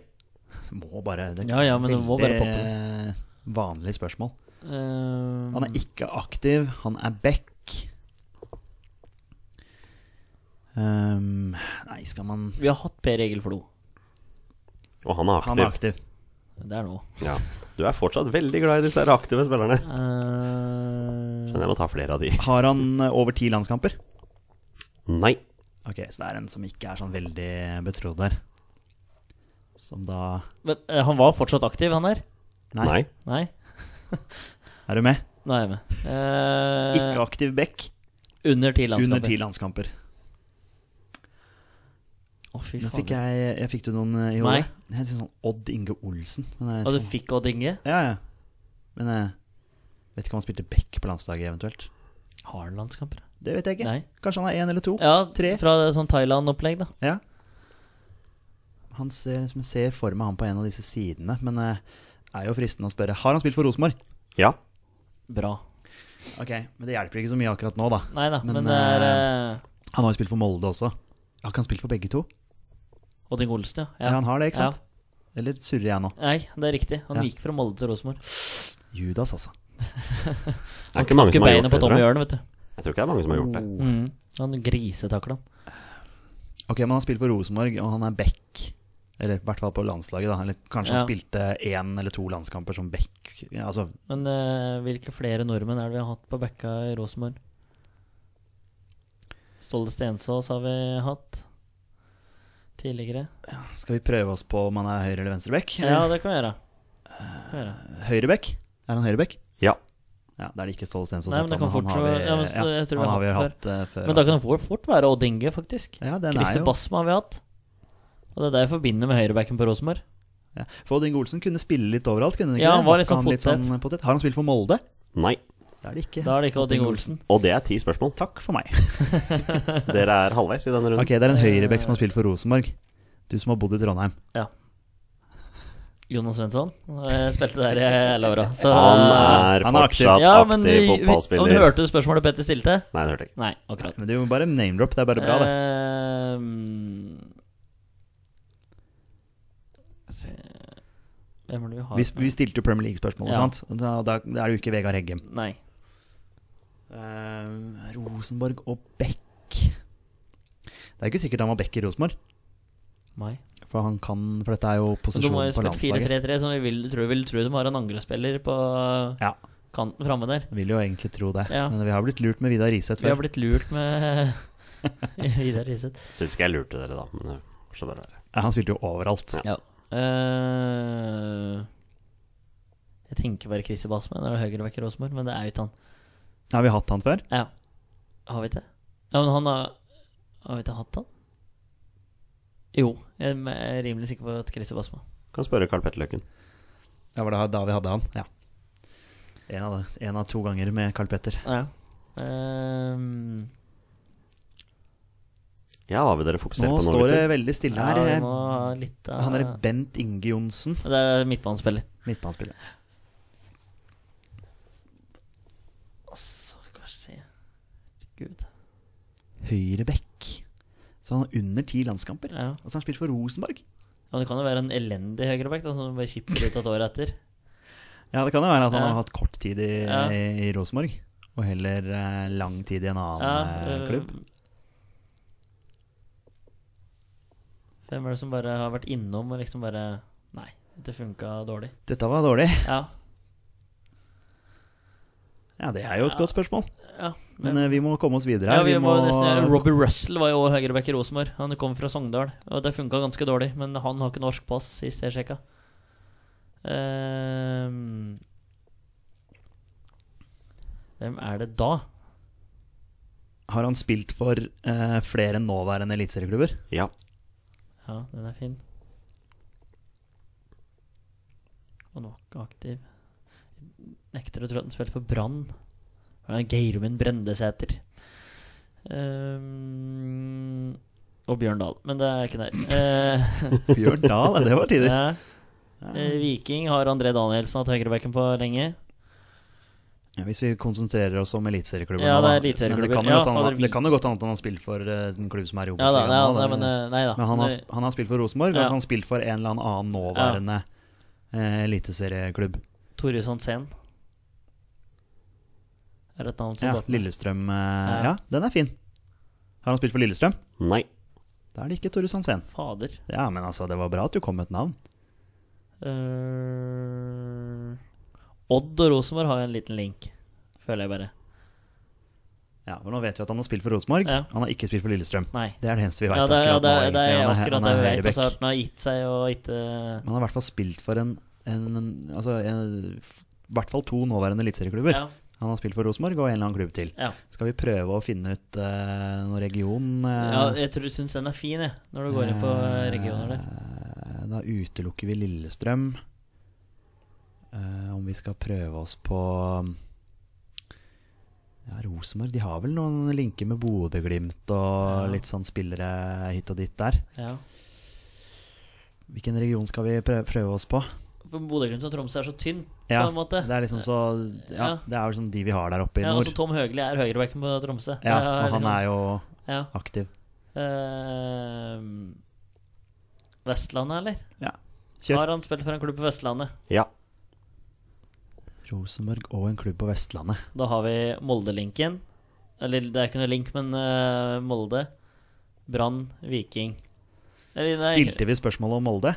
S3: Må bare det
S4: Ja, ja, men det må bare poppe.
S3: veldig eh, Vanlig spørsmål.
S4: Eh,
S3: Han er ikke aktiv, han er back. Ehm, nei, skal man
S4: Vi har hatt Per Egil Flo.
S2: Og han er aktiv.
S3: Han er aktiv.
S4: Det er nå.
S2: Ja. Du er fortsatt veldig glad i disse her aktive spillerne.
S4: Eh,
S2: Men jeg må ta flere av de.
S3: Har han eh, over ti landskamper?
S2: Nei.
S3: Ok, så det er en som ikke er sånn veldig betrodd her. Som da
S4: men eh, han var fortsatt aktiv, han der?
S3: Nei.
S2: Nei.
S4: Nei?
S3: Er du med?
S4: Nå er jeg med. Eh,
S3: Ikke aktiv back.
S4: under ti landskamper.
S3: Under ti landskamper.
S4: Å, fy
S3: Nå
S4: faen.
S3: fikk jeg, jeg Fikk du noen eh, i
S4: Nei.
S3: hodet? Jeg tenkte sånn Odd Inge Olsen. Men jeg
S4: Og
S3: vet
S4: du
S3: ikke om-
S4: fikk Odd Inge?
S3: Ja, ja. Men jeg vet ikke om han spilte back på landslaget eventuelt.
S4: Har han landskamper? da?
S3: Det vet jeg ikke.
S4: Nei.
S3: Kanskje han er én eller to.
S4: Ja,
S3: Tre.
S4: fra sånn Thailand-opplegg, da.
S3: Ja. Han ser, liksom, jeg ser for meg han på en av disse sidene, men det er jo fristende å spørre Har han spilt for Rosenborg?
S2: Ja.
S4: Bra.
S3: Ok, men det hjelper ikke så mye akkurat nå, da.
S4: Nei da, men,
S3: Men,
S4: det er eh,
S3: Han har jo spilt for Molde også. Har ikke han spilt for begge to?
S4: Odding Olsen, ja.
S3: Ja, han har det, ikke sant? Eller surrer jeg nå?
S4: Ja. Nei, det er riktig. Han
S3: Ja.
S4: gikk fra Molde til Rosenborg.
S3: Judas, altså.
S2: Det er ikke mange som har gjort
S4: Beinet
S2: det.
S4: på
S2: Tror
S4: Tommy
S2: jeg.
S4: Jørn, vet du.
S2: jeg tror ikke det er mange som har gjort det.
S4: Mm. Han grisetakla han.
S3: Ok, men han har spilt for Rosenborg, og han er back. Eller i hvert fall på landslaget, da. Eller kanskje
S4: Ja.
S3: han spilte én eller to landskamper som back. Ja, altså,
S4: Men eh, hvilke flere nordmenn er det vi har hatt på backa i Rosenborg? Ståle Stensås har vi hatt tidligere.
S3: skal vi prøve oss på om han er høyre- eller venstreback?
S4: Ja, det kan vi gjøre. Kan vi gjøre.
S3: Høyreback? Er han høyreback?
S2: Ja.
S3: Ja, da er det ikke Ståle Stensås.
S4: Nei, men
S3: Oppland,
S4: det kan
S3: han
S4: fort-
S3: har vi,
S4: ja, men så- jeg tror vi
S3: han
S4: har
S3: har vi
S4: hatt
S3: hatt eh, før.
S4: Men da kan det fort- fort være Odd Inge, faktisk.
S3: ja, den er
S4: Christer
S3: jo
S4: Bassmann har vi hatt. Og det er det jeg forbinder med høyrebacken på Rosenborg.
S3: ja. For Odd Inge Olsen kunne spille litt overalt, kunne han ikke?
S4: Ja,
S3: det?
S4: han var
S3: Var
S4: litt sånn
S3: han sånn potet. Har han spilt for Molde?
S2: Nei.
S3: Det er det ikke.
S4: Da er det ikke Odd Inge Olsen.
S2: Og det er ti spørsmål.
S3: Takk for meg.
S2: Dere er halvveis i denne runden.
S3: Ok, det er en høyreback som har spilt for Rosenborg. Du som har bodd i Trondheim.
S4: Jonas Svensson eh, spilte der i alle åra. Så eh,
S2: Han er
S3: Han er aktiv.
S2: fortsatt
S4: ja, men vi,
S2: aktiv
S4: vi, om du
S2: fotballspiller.
S4: Hørte du spørsmålet Petter stilte?
S2: Nei, det hørte jeg ikke.
S4: Nei, akkurat.
S3: Men du må bare name-drop, det er bare bra, det.
S4: Ehm, se, Hvem er det vi har
S3: Vi, vi stilte jo Premier League-spørsmålet,
S4: Ja.
S3: sant? Da, da, da er det jo ikke Vegard Heggem.
S4: Nei.
S3: Eh, Rosenborg og Beck Det er ikke sikkert han var Beck i Rosenborg,
S4: Nei.
S3: for han kan For dette er jo
S4: Men de har
S3: posisjonen
S4: jo
S3: på
S4: spilt
S3: landslaget.
S4: 4-3-3, som vi vil, tror, vil tro de har en angrespiller på
S3: Ja,
S4: kanten framme der.
S3: jeg vil jo egentlig tro det.
S4: Ja.
S3: Men vi har blitt lurt med Vidar Riseth
S4: Vi har
S3: før.
S4: blitt lurt med Vidar Riseth.
S2: Syns ikke jeg lurte dere, da. Men det får så bare være.
S3: Ja, Han spilte jo overalt.
S4: Ja. Eh, jeg tenker bare Christer Bassmann eller Høyrebekk i Rosenborg, men det er jo ikke han.
S3: Har vi hatt han før?
S4: Ja. Har vi ikke det? Ja, men han har Har vi ikke hatt han? Jo, jeg er rimelig sikker på at Christer Basma.
S2: Kan spørre Karl Petter Løkken.
S3: Ja, var det da vi hadde han? Ja. En av, en av to ganger med Carl Petter.
S4: Ja. Ehm,
S2: Ja, hva vil dere fokusere
S3: Nå
S2: på nå?
S3: står det
S2: gutter?
S3: veldig stille
S4: ja, vi
S3: her.
S4: må ha litt av
S3: Han er Bent Inge Johnsen,
S4: Det er midtbanespiller.
S3: midtbanespiller.
S4: Altså, hva skjer Gud.
S3: Høyrebekk. Så han har under ti landskamper.
S4: Ja.
S3: Og så har han spilt for Rosenborg.
S4: ja, det kan jo være en elendig høyreback da, som bare kipper ut av et år etter.
S3: Ja, det kan jo være at han
S4: Ja.
S3: har hatt kort tid i,
S4: Ja.
S3: i Rosenborg, og heller eh, lang tid i en annen eh,
S4: øh,
S3: klubb.
S4: Hvem er det som bare har vært innom og liksom bare Nei, det funka dårlig.
S3: Dette var dårlig.
S4: Ja.
S3: Ja, det er jo et godt spørsmål,
S4: ja.
S3: men eh, vi må komme oss videre.
S4: Ja,
S3: her.
S4: vi må nesten gjøre Robbie Russell var jo også høyreback i Rosenborg. Han kom fra Sogndal, og det funka ganske dårlig. Men han har ikke norsk pass, sist jeg sjekka. Ehm, hvem er det da?
S3: Har han spilt for eh, flere nåværende eliteserieklubber?
S2: Ja.
S4: Ja, den er fin. Og nok aktiv. Nekter å tro at han spilte for Brann. Han er Geirmund Brendesæter. Ehm, og Bjørn Dahl. Men det er ikke der. Eh,
S3: Bjørn Dahl, ja, det var tider.
S4: Ja. Eh, Viking har André Danielsen hatt høyrebacken på lenge.
S3: Ja, hvis vi konsentrerer oss om eliteserieklubber
S4: Ja,
S3: nå, da.
S4: det er eliteserieklubber.
S3: Men det kan jo
S4: Ja,
S3: godt
S4: fader,
S3: hende-
S4: vi-
S3: det kan jo godt hende at han har spilt for eh, en klubb som er i
S4: Ja da,
S3: Obos-ligaen
S4: ja,
S3: nå,
S4: nei,
S3: det-
S4: men, eh, nei da.
S3: Men han har,
S4: Det-
S3: sp- han har spilt for Rosenborg,
S4: Ja.
S3: og så har han spilt for en eller annen nåværende eh, eliteserieklubb.
S4: Tore Sandsen. Er det et navn som
S3: Ja,
S4: datt ned?
S3: Lillestrøm eh,
S4: Ja.
S3: Ja, den er fin. Har han spilt for Lillestrøm?
S2: Nei.
S3: Da er det ikke Tore Sandsen.
S4: Fader.
S3: Ja, men altså, det var bra at du kom med et navn.
S4: Eh, Odd og Rosenborg har jo en liten link, føler jeg bare.
S3: Ja, for Nå vet vi at han har spilt for Rosenborg.
S4: Ja.
S3: Han har ikke spilt for Lillestrøm.
S4: Nei.
S3: Det er det eneste vi vet
S4: Ja, det er, ja, det
S3: akkurat
S4: er,
S3: nå.
S4: det er
S3: egentlig.
S4: akkurat
S3: han er,
S4: det
S3: han
S4: vi
S3: er
S4: vet. altså. Og
S3: høyrebekk.
S4: så har han gitt eh, seg og ikke
S3: Men han har i hvert fall spilt for en, en Altså, en- i hvert fall to nåværende eliteserieklubber.
S4: Ja,
S3: Han har spilt for Rosenborg og en eller annen klubb til.
S4: ja.
S3: Skal vi prøve å finne ut eh, noen region?
S4: ja,
S3: eh,
S4: jeg tror- syns den er fin, jeg, når du går inn på eh, regioner der.
S3: Eh, Da utelukker vi Lillestrøm. Eh, om vi skal prøve oss på ja, Rosenborg De har vel noen linker med Bodø-Glimt og
S4: Ja.
S3: litt sånn spillere hit og dit der.
S4: Ja.
S3: Hvilken region skal vi prøve, prøve oss på?
S4: For Bodø-Glimt og Tromsø er så tynt,
S3: Ja,
S4: på en måte.
S3: Det er liksom så Ja,
S4: Ja.
S3: det er jo liksom de vi har der oppe i
S4: Ja, altså
S3: nord.
S4: Tom Høgli er høyrebacken på Tromsø.
S3: Ja,
S4: Det er
S3: og han
S4: liksom-
S3: er jo
S4: Ja.
S3: aktiv.
S4: Eh, Vestlandet, eller?
S3: Ja. Kjør.
S4: Har han spilt for en klubb på Vestlandet?
S2: Ja.
S3: Rosenborg og en klubb på Vestlandet.
S4: Da har vi Molde-linken. Eller det er ikke noe link, men eh, Molde. Brann, Viking. Eller, nei,
S3: Stilte vi spørsmål om Molde?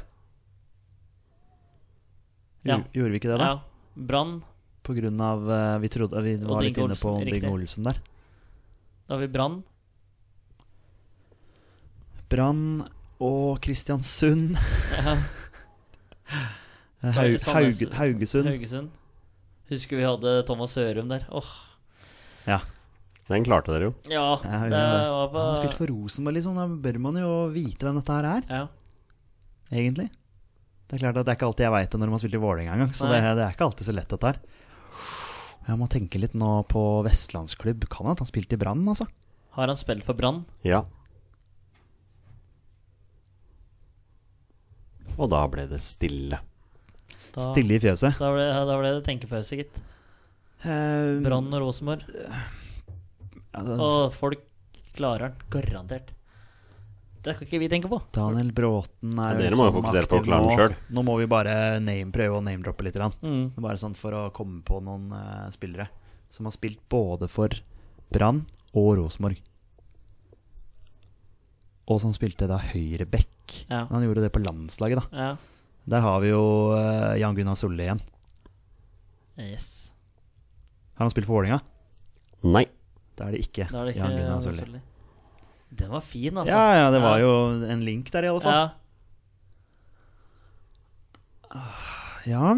S4: Ja.
S3: Gj- Gjorde vi ikke det, da?
S4: Ja. Brann.
S3: På grunn av eh, Vi trodde vi var litt
S4: Dingo
S3: inne på
S4: Olsen,
S3: Dingo
S4: riktig.
S3: Olsen der.
S4: Da har vi Brann.
S3: Brann og Kristiansund.
S4: Ja.
S3: Eh, Haug,
S4: Sandnes-
S3: Haug, Haugesund.
S4: Haugesund. Husker vi hadde Thomas Sørum der. Åh,
S3: Ja.
S2: Den klarte dere jo.
S4: ja,
S3: Ja, vi
S4: det
S3: gjorde det.
S4: var på
S3: Han spilte for Rosenborg, liksom. Da bør man jo vite hvem dette her er,
S4: ja.
S3: egentlig. Det er klart at det er ikke alltid jeg veit det når man spilte i Vålerenga engang. Så det,
S4: Nei.
S3: det er ikke alltid så lett, dette her. Jeg må tenke litt nå på vestlandsklubb. Kan hende han spilte i Brann, altså.
S4: Har han spilt for Brann?
S2: Ja. Og da ble det stille.
S4: Da,
S3: Stille i fjøset.
S4: da, ble, da ble det tenkepause, gitt.
S3: Eh,
S4: Brann og Rosenborg.
S3: altså,
S4: Og folk klarer den, garantert. Det skal ikke vi tenke på.
S3: Daniel Bråten er
S2: Ja, dere
S3: jo
S2: må jo
S3: liksom
S2: fokusere på å
S3: aktiv
S2: klare den
S3: nå.
S2: selv.
S3: Nå må vi bare name, prøve å name-droppe litt. Grann.
S4: Mm.
S3: Bare sånn for å komme på noen eh, spillere som har spilt både for Brann og Rosenborg. Og som spilte da høyreback.
S4: Ja.
S3: Han gjorde det på landslaget, da.
S4: Ja.
S3: Der har vi jo eh, Jan Gunnar Solli igjen.
S4: Yes.
S3: Har han spilt for Vålerenga?
S2: Nei.
S3: Da er det ikke,
S4: Da er det ikke
S3: Jan Gunnar
S4: Gunnar
S3: Solli.
S4: Solli. Den var fin, altså.
S3: Ja, ja, det var jo en link der, i alle fall.
S4: Ja.
S3: Ja,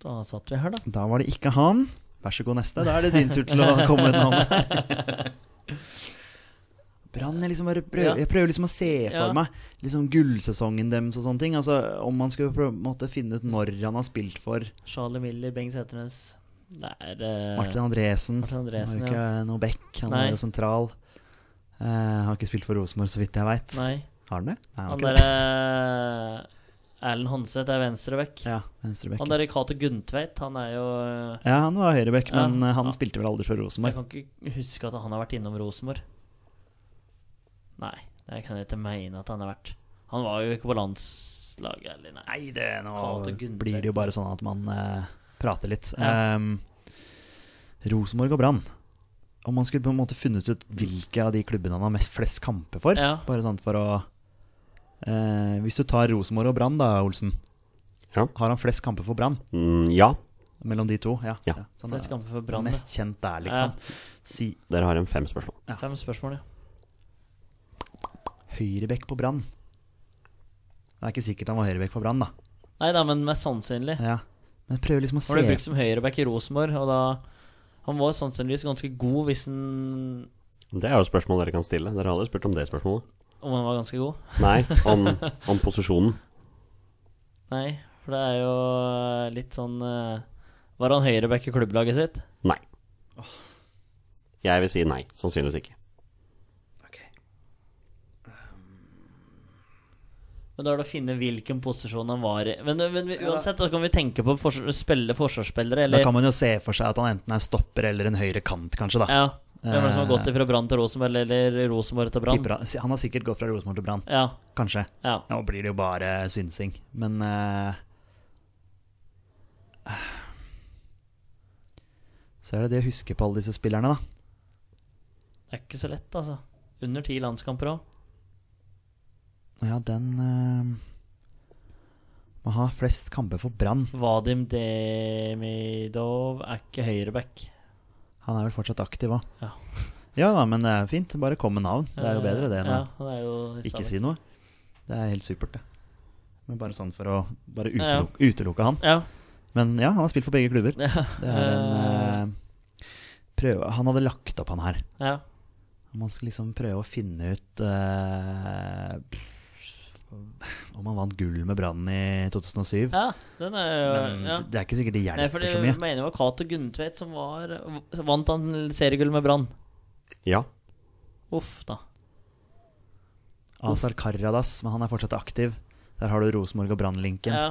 S4: Da satt vi her, da.
S3: Da var det ikke han. Vær så god, neste. Da er det din tur til å komme med et navn. Brann jeg, liksom bare
S4: Ja.
S3: prøver, jeg prøver liksom å se for
S4: Ja.
S3: meg liksom gullsesongen deres og sånne ting. Altså, om man skulle prøve, måtte finne ut når han har spilt for
S4: Charlie Miller, Bengt Sæternes. Det er eh,
S3: Martin Andresen.
S4: Martin
S3: han var
S4: Andresen,
S3: jo ikke noe back, han
S4: Nei.
S3: var jo sentral. Eh, har ikke spilt for Rosenborg, så vidt jeg veit.
S4: Nei.
S3: Har han det? Nei, han har
S4: Han
S3: ikke det.
S4: derre eh, Erlend Hånseth er venstreback.
S3: Ja, venstreback.
S4: Han derre Cato Gunntveit, han er jo eh,
S3: Ja, han var høyreback,
S4: Ja.
S3: men eh, han
S4: Ja.
S3: spilte vel aldri for
S4: Jeg
S3: Rosenborg.
S4: kan ikke huske at han har vært innom Rosenborg. Nei, det kan jeg ikke mene at han har vært. Han var jo ikke på landslaget, eller nei.
S3: Nei, det
S4: Kalt og
S3: nå
S4: Gunntveit.
S3: blir det jo bare sånn at man eh, prater litt.
S4: Ja.
S3: Ehm, Rosenborg og Brann. Om man skulle på en måte funnet ut hvilke av de klubbene han har mest flest kamper for.
S4: Ja.
S3: Bare sånn for å eh, Hvis du tar Rosenborg og Brann, da, Olsen.
S2: Ja.
S3: Har han flest kamper for Brann?
S2: Mm, ja.
S3: Mellom de to? Ja.
S2: Ja.
S3: sånn,
S4: Flest kamper for
S3: han
S4: Brann.
S3: er Mest kjent der, liksom. Si
S2: Dere har en fem spørsmål.
S4: ja. Fem spørsmål, ja.
S3: høyrebekk på Brann. Det er ikke sikkert han var høyrebekk på Brann, da.
S4: Nei da, men mest sannsynlig.
S3: Ja. Men prøv liksom å
S4: Han ble
S3: se
S4: brukt som høyreback i Rosenborg, og da Han var sannsynligvis ganske god hvis han
S2: Det er jo et spørsmål dere kan stille. Dere har aldri spurt om det spørsmålet.
S4: Om han var ganske god?
S2: Nei, om, om posisjonen.
S4: Nei, for det er jo eh, litt sånn eh, Var han høyreback i klubblaget sitt?
S2: Nei. Jeg vil si nei. Sannsynligvis ikke.
S4: Men da er det å finne hvilken posisjon han var i. Men, men vi- uansett, da kan vi tenke på fors spille forsvarsspillere,
S3: Da
S4: eller
S3: kan man jo se for seg at han enten er stopper eller en høyre kant, kanskje. da
S4: Ja. Hvem er det som har gått fra Brann til Rosenborg, eller Rosenborg til Brann?
S3: Tipper han, han har sikkert gått fra Rosenborg til Brann,
S4: Ja.
S3: kanskje.
S4: ja.
S3: Nå blir det jo bare synsing, men eh, Så er det det å huske på alle disse spillerne, da.
S4: Det er ikke så lett, altså. Under ti landskamper òg.
S3: Ja, den eh, Må ha flest kamper for Brann.
S4: Vadim Demidov er ikke høyreback.
S3: Han er vel fortsatt aktiv òg.
S4: Ja.
S3: ja da, men det er fint. Bare kom med navn. Det er jo bedre det enn
S4: Eh, ja,
S3: å
S4: det er jo
S3: ikke si noe. Det er helt supert, det. Men bare sånn for å bare
S4: Ja, ja.
S3: utelukke, utelukke han.
S4: Ja.
S3: Men ja, han har spilt for begge klubber.
S4: ja.
S3: Det er en eh, prøve Han hadde lagt opp han her.
S4: ja.
S3: Man skal liksom prøve å finne ut eh, om han vant gull med Brann i 2007.
S4: ja, den er jo
S3: Men
S4: ja.
S3: Mm, det er ikke sikkert det
S4: Nei, for
S3: hjelper
S4: det
S3: så
S4: jeg
S3: mye.
S4: mener det var Cato Gunntveit som var som Vant han seriegull med Brann?
S2: Ja.
S4: Uff, da.
S3: Azar Karadas, men han er fortsatt aktiv. Der har du Rosenborg og Brann-linken.
S4: Ja.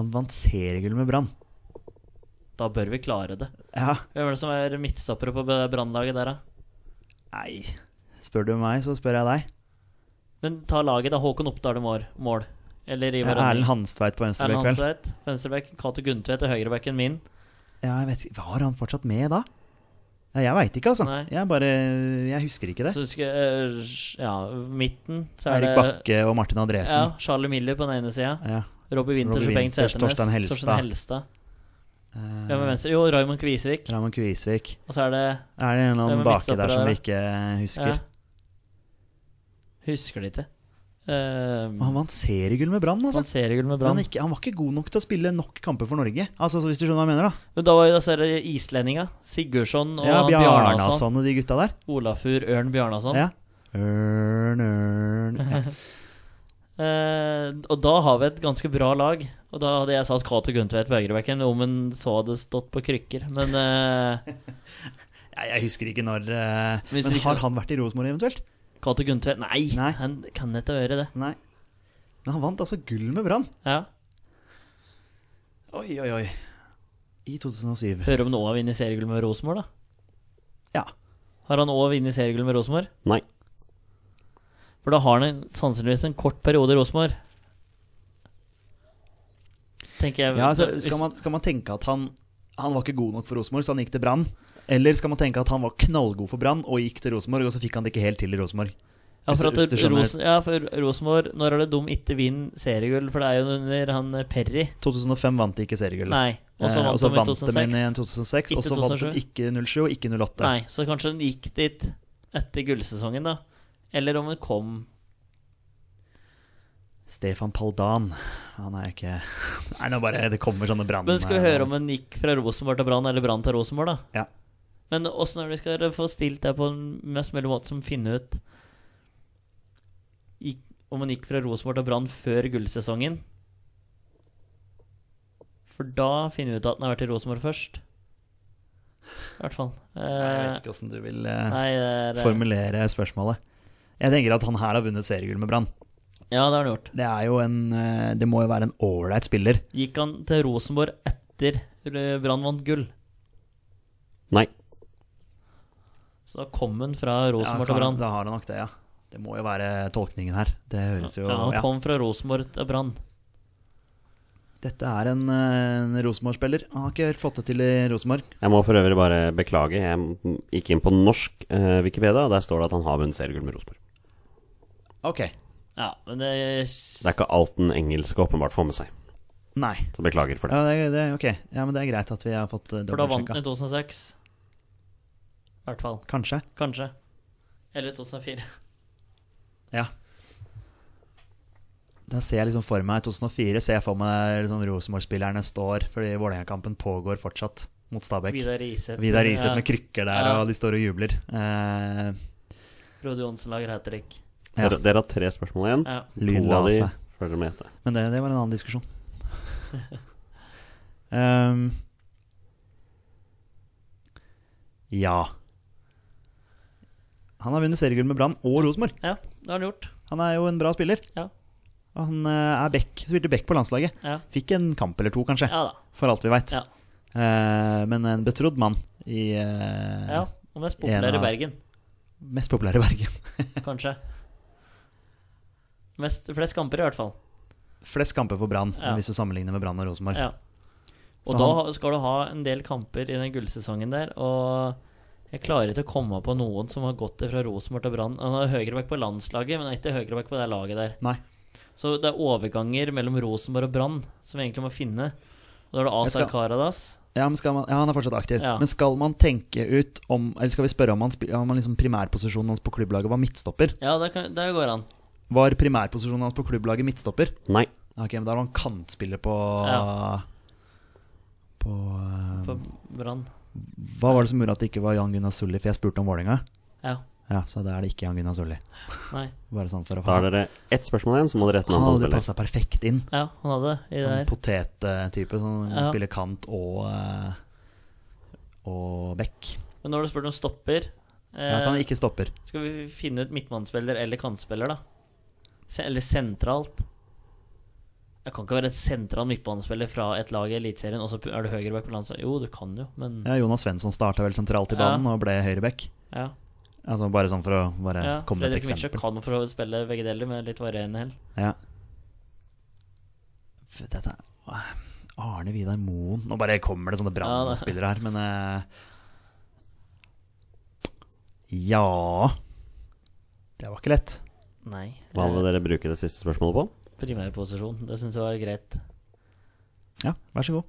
S3: Han vant seriegull med Brann.
S4: Da bør vi klare det.
S3: Ja,
S4: Hvem er det som er midtstoppere på brannlaget der, da?
S3: Nei, spør du meg, så spør jeg deg.
S4: Men ta laget, da. Håkon Oppdal i mål. mål. Eller
S3: Ja,
S4: Ivar
S3: Erlend Hanstveit på
S4: Erlend
S3: venstrebekk, vel?
S4: Hansveit. Venstrebekk. Cato Gundtvedt er høyrebekken min.
S3: Ja, jeg vet, ikke- var han fortsatt med da? Nei, jeg veit ikke, altså.
S4: Nei.
S3: Jeg bare Jeg husker ikke det.
S4: Så husker jeg øh, Ja, midten så er
S3: Eirik
S4: det
S3: Bakke og Martin
S4: ja,
S3: Andresen.
S4: Charlie Miller på den ene sida.
S3: Ja.
S4: Robbie Winters
S3: Robbie
S4: og Bengt
S3: Winters,
S4: Sæternes.
S3: Torstein Helstad.
S4: Helstad.
S3: Eh,
S4: Hvem er venstre? Jo, Raymond Kvisvik.
S3: Ramon Kvisvik.
S4: Og så er det
S3: Er det en eller annen
S4: Hvem er
S3: baki der som vi
S4: midtstoppere der,
S3: ikke husker?
S4: ja. Husker det ikke. Uh,
S3: Han vant seriegull med Brann, altså.
S4: man ser jo gull med
S3: Men
S4: Brann.
S3: Han, ikke, han var ikke god nok til å spille nok kamper for Norge. Altså, så Hvis du skjønner hva jeg mener, da.
S4: Men da var jo disse her islendinga. Sigurdsson og
S3: Ja,
S4: han Bjarnason.
S3: Bjarnason og de gutta der.
S4: Olafur Ørn Bjarnason.
S3: Ja. Ørn, ørn ja.
S4: Eh, og da har vi et ganske bra lag. Og da hadde jeg satt Cato Gundtvedt på høyrebekken om hun så hadde stått på krykker. Men eh,
S3: Nei, Jeg husker ikke når eh,
S4: Men husker
S3: Men
S4: ikke
S3: har
S4: når-
S3: han vært i Rosenborg eventuelt?
S4: Cato Gundtvedt nei,
S3: Nei.
S4: han kan ikke gjøre det.
S3: Nei. Men han vant altså gull med Brann.
S4: Ja.
S3: Oi, oi, oi. I 2007.
S4: Hører om han òg har vunnet seriegull med Rosenborg, da.
S3: Ja.
S4: Har han òg vunnet seriegull med Rosenborg?
S2: Nei.
S4: For da har han en, sannsynligvis en kort periode i Rosenborg. Tenker jeg
S3: ja altså, skal, man, skal man tenke at han han var ikke god nok for Rosenborg, så han gikk til Brann? Eller skal man tenke at han var knallgod for Brann og gikk til Rosenborg, og så fikk han det ikke helt til i Rosenborg?
S4: Ja, for,
S3: Hvis du-
S4: at
S3: hvis du skjønner.
S4: Rosen, ja, for Rosenborg Når er det de ikke vinner seriegull? For det er jo under han eh, Perry.
S3: 2005 vant de ikke seriegullet.
S4: Nei. Og så
S3: Eh,
S4: vant de i
S3: de inn i 2006,
S4: 2006. Ikke
S3: og så vant de
S4: 2007.
S3: ikke 07 og ikke 08.
S4: Nei, så kanskje den gikk dit etter gullsesongen, da. Eller om den kom
S3: Stefan Paldan. Han er jo ikke Nei, nå bare Det kommer sånne brann...
S4: Men skal vi høre om den gikk fra Rosenborg til Brann, eller Brann til Rosenborg, da?
S3: Ja.
S4: Men åssen er det vi skal få stilt det på en mest mulig måte som finner ut gikk, om han gikk fra Rosenborg til Brann før gullsesongen? For da finner vi ut at han har vært i Rosenborg først. I hvert fall.
S3: Jeg
S4: Eh,
S3: vet ikke åssen du vil eh,
S4: nei, det er,
S3: formulere spørsmålet. Jeg tenker at han her har vunnet seriegull med Brann.
S4: ja, det har han gjort.
S3: Det er jo en eh, Det må jo være en ålreit spiller.
S4: Gikk han til Rosenborg etter eh, Brann vant gull?
S2: Nei.
S4: Så da kom han fra
S3: Ja,
S4: Rosenborg
S3: kan-
S4: til Brann.
S3: Da har han nok det, ja. Det må jo være tolkningen her. Det høres jo
S4: Ja, han
S3: ja.
S4: kom fra Rosenborg til Brann.
S3: Dette er en, eh, en Rosenborg-spiller. Han har ikke helt fått det til i Rosenborg.
S2: Jeg må for øvrig bare beklage. Jeg gikk inn på norsk eh, Wikipedia, og der står det at han har vunnet seriegull med Rosenborg.
S3: Ok.
S4: Ja, men det
S2: Det er ikke alt den engelske åpenbart får med seg.
S3: Nei.
S2: Så beklager for det.
S3: Ja, det, det, ok. ja, men det er greit at vi har fått eh,
S4: For da vant den i
S3: dobbeltsjekka.
S4: 2006. I hvert fall.
S3: Kanskje.
S4: Kanskje. Eller 2004.
S3: Ja. Da ser jeg liksom for meg 2004 ser jeg for meg liksom Rosenborg-spillerne står fordi Vålerenga-kampen pågår fortsatt mot Stabæk. Vidar,
S4: Vidar Iseth.
S3: Iseth med krykker der,
S4: Ja.
S3: og de står og jubler. Eh,
S4: Frode Johnsen lager hat trick.
S3: ja.
S2: Dere, dere har tre spørsmål igjen.
S4: Ja.
S3: Lyn
S2: To
S3: la
S2: av de
S3: seg.
S2: følger med etter.
S3: Men det, det var en annen diskusjon.
S4: Um,
S3: Ehm, ja. Han har vunnet seriegull med Brann og Rosenborg.
S4: ja, det har han gjort.
S3: Han er jo en bra spiller.
S4: Ja.
S3: Og Han eh, er back, spilte back på landslaget.
S4: Ja,
S3: Fikk en kamp eller to, kanskje,
S4: ja da.
S3: for alt vi veit.
S4: Ja.
S3: men en betrodd mann i eh,
S4: Ja, Og mest
S3: En
S4: populær
S3: av-
S4: i Bergen,
S3: mest populære Bergen.
S4: kanskje. Mest, flest kamper, i hvert fall.
S3: Flest kamper for Brann,
S4: Ja.
S3: hvis du sammenligner med Brann og Rosenborg.
S4: Ja. Og
S3: Så
S4: da
S3: han-
S4: skal du ha en del kamper i den gullsesongen der, og jeg klarer ikke å komme på noen som har gått fra Rosenborg til Brann. Han har høyreback på landslaget, men er ikke høyreback på det laget der.
S3: Nei.
S4: Så det er overganger mellom Rosenborg og Brann som vi egentlig må finne. Og da er det
S3: Jeg
S4: Azar
S3: skal-
S4: Karadas.
S3: Ja, men skal man, ja, han er fortsatt aktiv.
S4: Ja.
S3: Men skal man tenke ut om Eller skal vi spørre om, han, spil- om han liksom primærposisjonen hans på klubblaget var midtstopper?
S4: Ja, der, kan, der går han.
S3: Var primærposisjonen hans på klubblaget midtstopper?
S2: Nei.
S3: Ok, men da var han kantspiller på
S4: Ja.
S3: På eh,
S4: På Brann.
S3: Hva var det som gjorde at det ikke var Jan Gunnar Sulli? For jeg spurte om Vålerenga.
S4: Ja.
S3: Ja, så da er det ikke Jan Gunnar Sulli.
S4: Nei.
S3: Bare sånn for å
S2: Da har dere ett spørsmål igjen, så må dere rette
S3: Han
S2: navn på
S3: hadde
S2: spillet.
S3: passa perfekt inn.
S4: Ja, han hadde det i det
S3: Sånn
S4: der.
S3: potettype som
S4: Ja.
S3: spiller kant og eh, Og back.
S4: Men nå har du spurt om stopper. Eh,
S3: Ja, så han ikke stopper.
S4: Skal vi finne ut midtmannsspiller eller kantspiller, da? Se, eller sentralt? Jeg kan ikke være et sentral midtbanespiller fra et lag i Eliteserien, og så er du høyreback på landslaget. Jo, du kan jo, men
S3: Ja, Jonas Svensson starta vel sentralt i
S4: Ja.
S3: banen og ble høyreback.
S4: ja.
S3: Altså bare sånn for å bare
S4: Ja,
S3: komme med et
S4: Fredrik Mitsjø
S3: eksempel.
S4: kan for å spille begge deler med litt varierende hell.
S3: Ja. F- Dette er Arne Vidar Moen. Nå bare kommer det sånne
S4: Ja, det-
S3: brannspillere her, men eh, Ja Det var ikke lett.
S4: Nei. Eh,
S2: Hva vil dere bruke det siste spørsmålet på?
S4: Primærposisjon. Det syns jeg var greit.
S3: Ja, vær så god.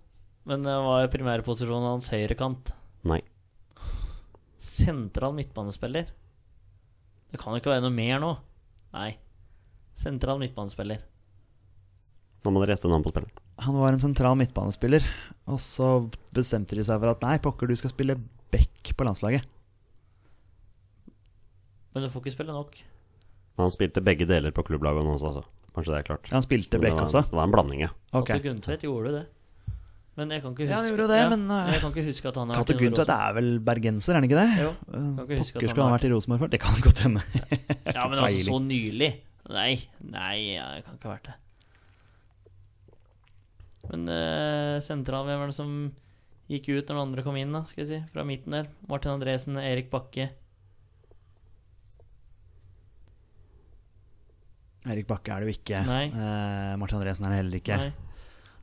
S4: Men eh, var primærposisjonen hans høyrekant?
S2: Nei.
S4: Sentral midtbanespiller? Det kan jo ikke være noe mer nå. Nei. Sentral midtbanespiller.
S2: Nå må dere gjette navnet på spilleren.
S3: Han var en sentral midtbanespiller, og så bestemte de seg for at nei, pokker, du skal spille back på landslaget.
S4: Men du får ikke spille nok.
S2: Men Han spilte begge deler på klubblaget nå også, altså. Kanskje det er klart.
S3: Ja, Han spilte
S2: Men det
S3: back
S2: var,
S3: også.
S2: det var en blanding, ja.
S3: Ok.
S4: Katte Gundtvedt gjorde det. Men jeg kan ikke
S3: Ja,
S4: huske
S3: han gjorde det, men, eh,
S4: Jeg kan ikke huske at han har
S3: Cato
S4: vært i
S3: Gundtvedt er vel bergenser, er han ikke det?
S4: Jo, kan
S3: Eh,
S4: ikke huske at
S3: Pokker
S4: han
S3: skulle han
S4: har
S3: vært i Rosenborg før? Det kan godt hende.
S4: Rosenborg. Ja, men altså så nylig. Nei, nei, jeg kan ikke ha vært det. Men eh, sentral, hvem var det som gikk ut når den andre kom inn, da? Skal vi si, fra midten der. Martin Andresen, Erik Bakke.
S3: Erik Bakke er det jo ikke.
S4: sånn- Nei.
S3: Eh, Martin Andresen er det heller ikke.
S4: Nei.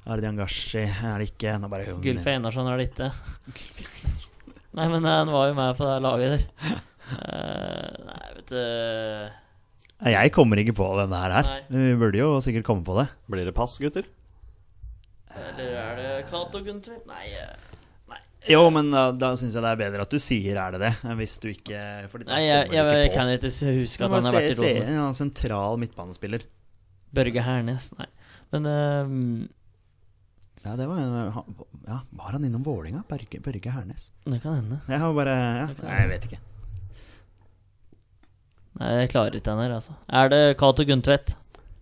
S3: Ardian Gashi er det ikke. Nå bare
S4: Gylfe Einarsson er det ikke. Nei, men eh, han var jo med på det laget der. Eh, nei, vet du
S3: Nei, Jeg kommer ikke på hvem det her er.
S4: Nei.
S3: Vi burde jo sikkert komme på det.
S2: Blir det pass, gutter?
S4: Eller er det Cato Gunther? Nei. eh, Nei,
S3: Jo, men da, da syns jeg det er bedre at du sier er det det, enn hvis du ikke fordi da
S4: Nei jeg,
S3: kommer
S4: jeg,
S3: du ikke på.
S4: kan ikke s- huske at
S3: Men
S4: han har vært i
S3: se- se-
S4: Rosenborg.
S3: Ja, sentral midtbanespiller.
S4: Børge Hernes, nei. Men eh,
S3: Ja, det var, en- han- ja, var han innom Vålinga? Børge, Børge Hernes?
S4: det kan hende.
S3: Jeg har bare ja, Nei, jeg vet ikke.
S4: Nei, jeg klarer ikke den her, altså. Er det Cato Guntvedt?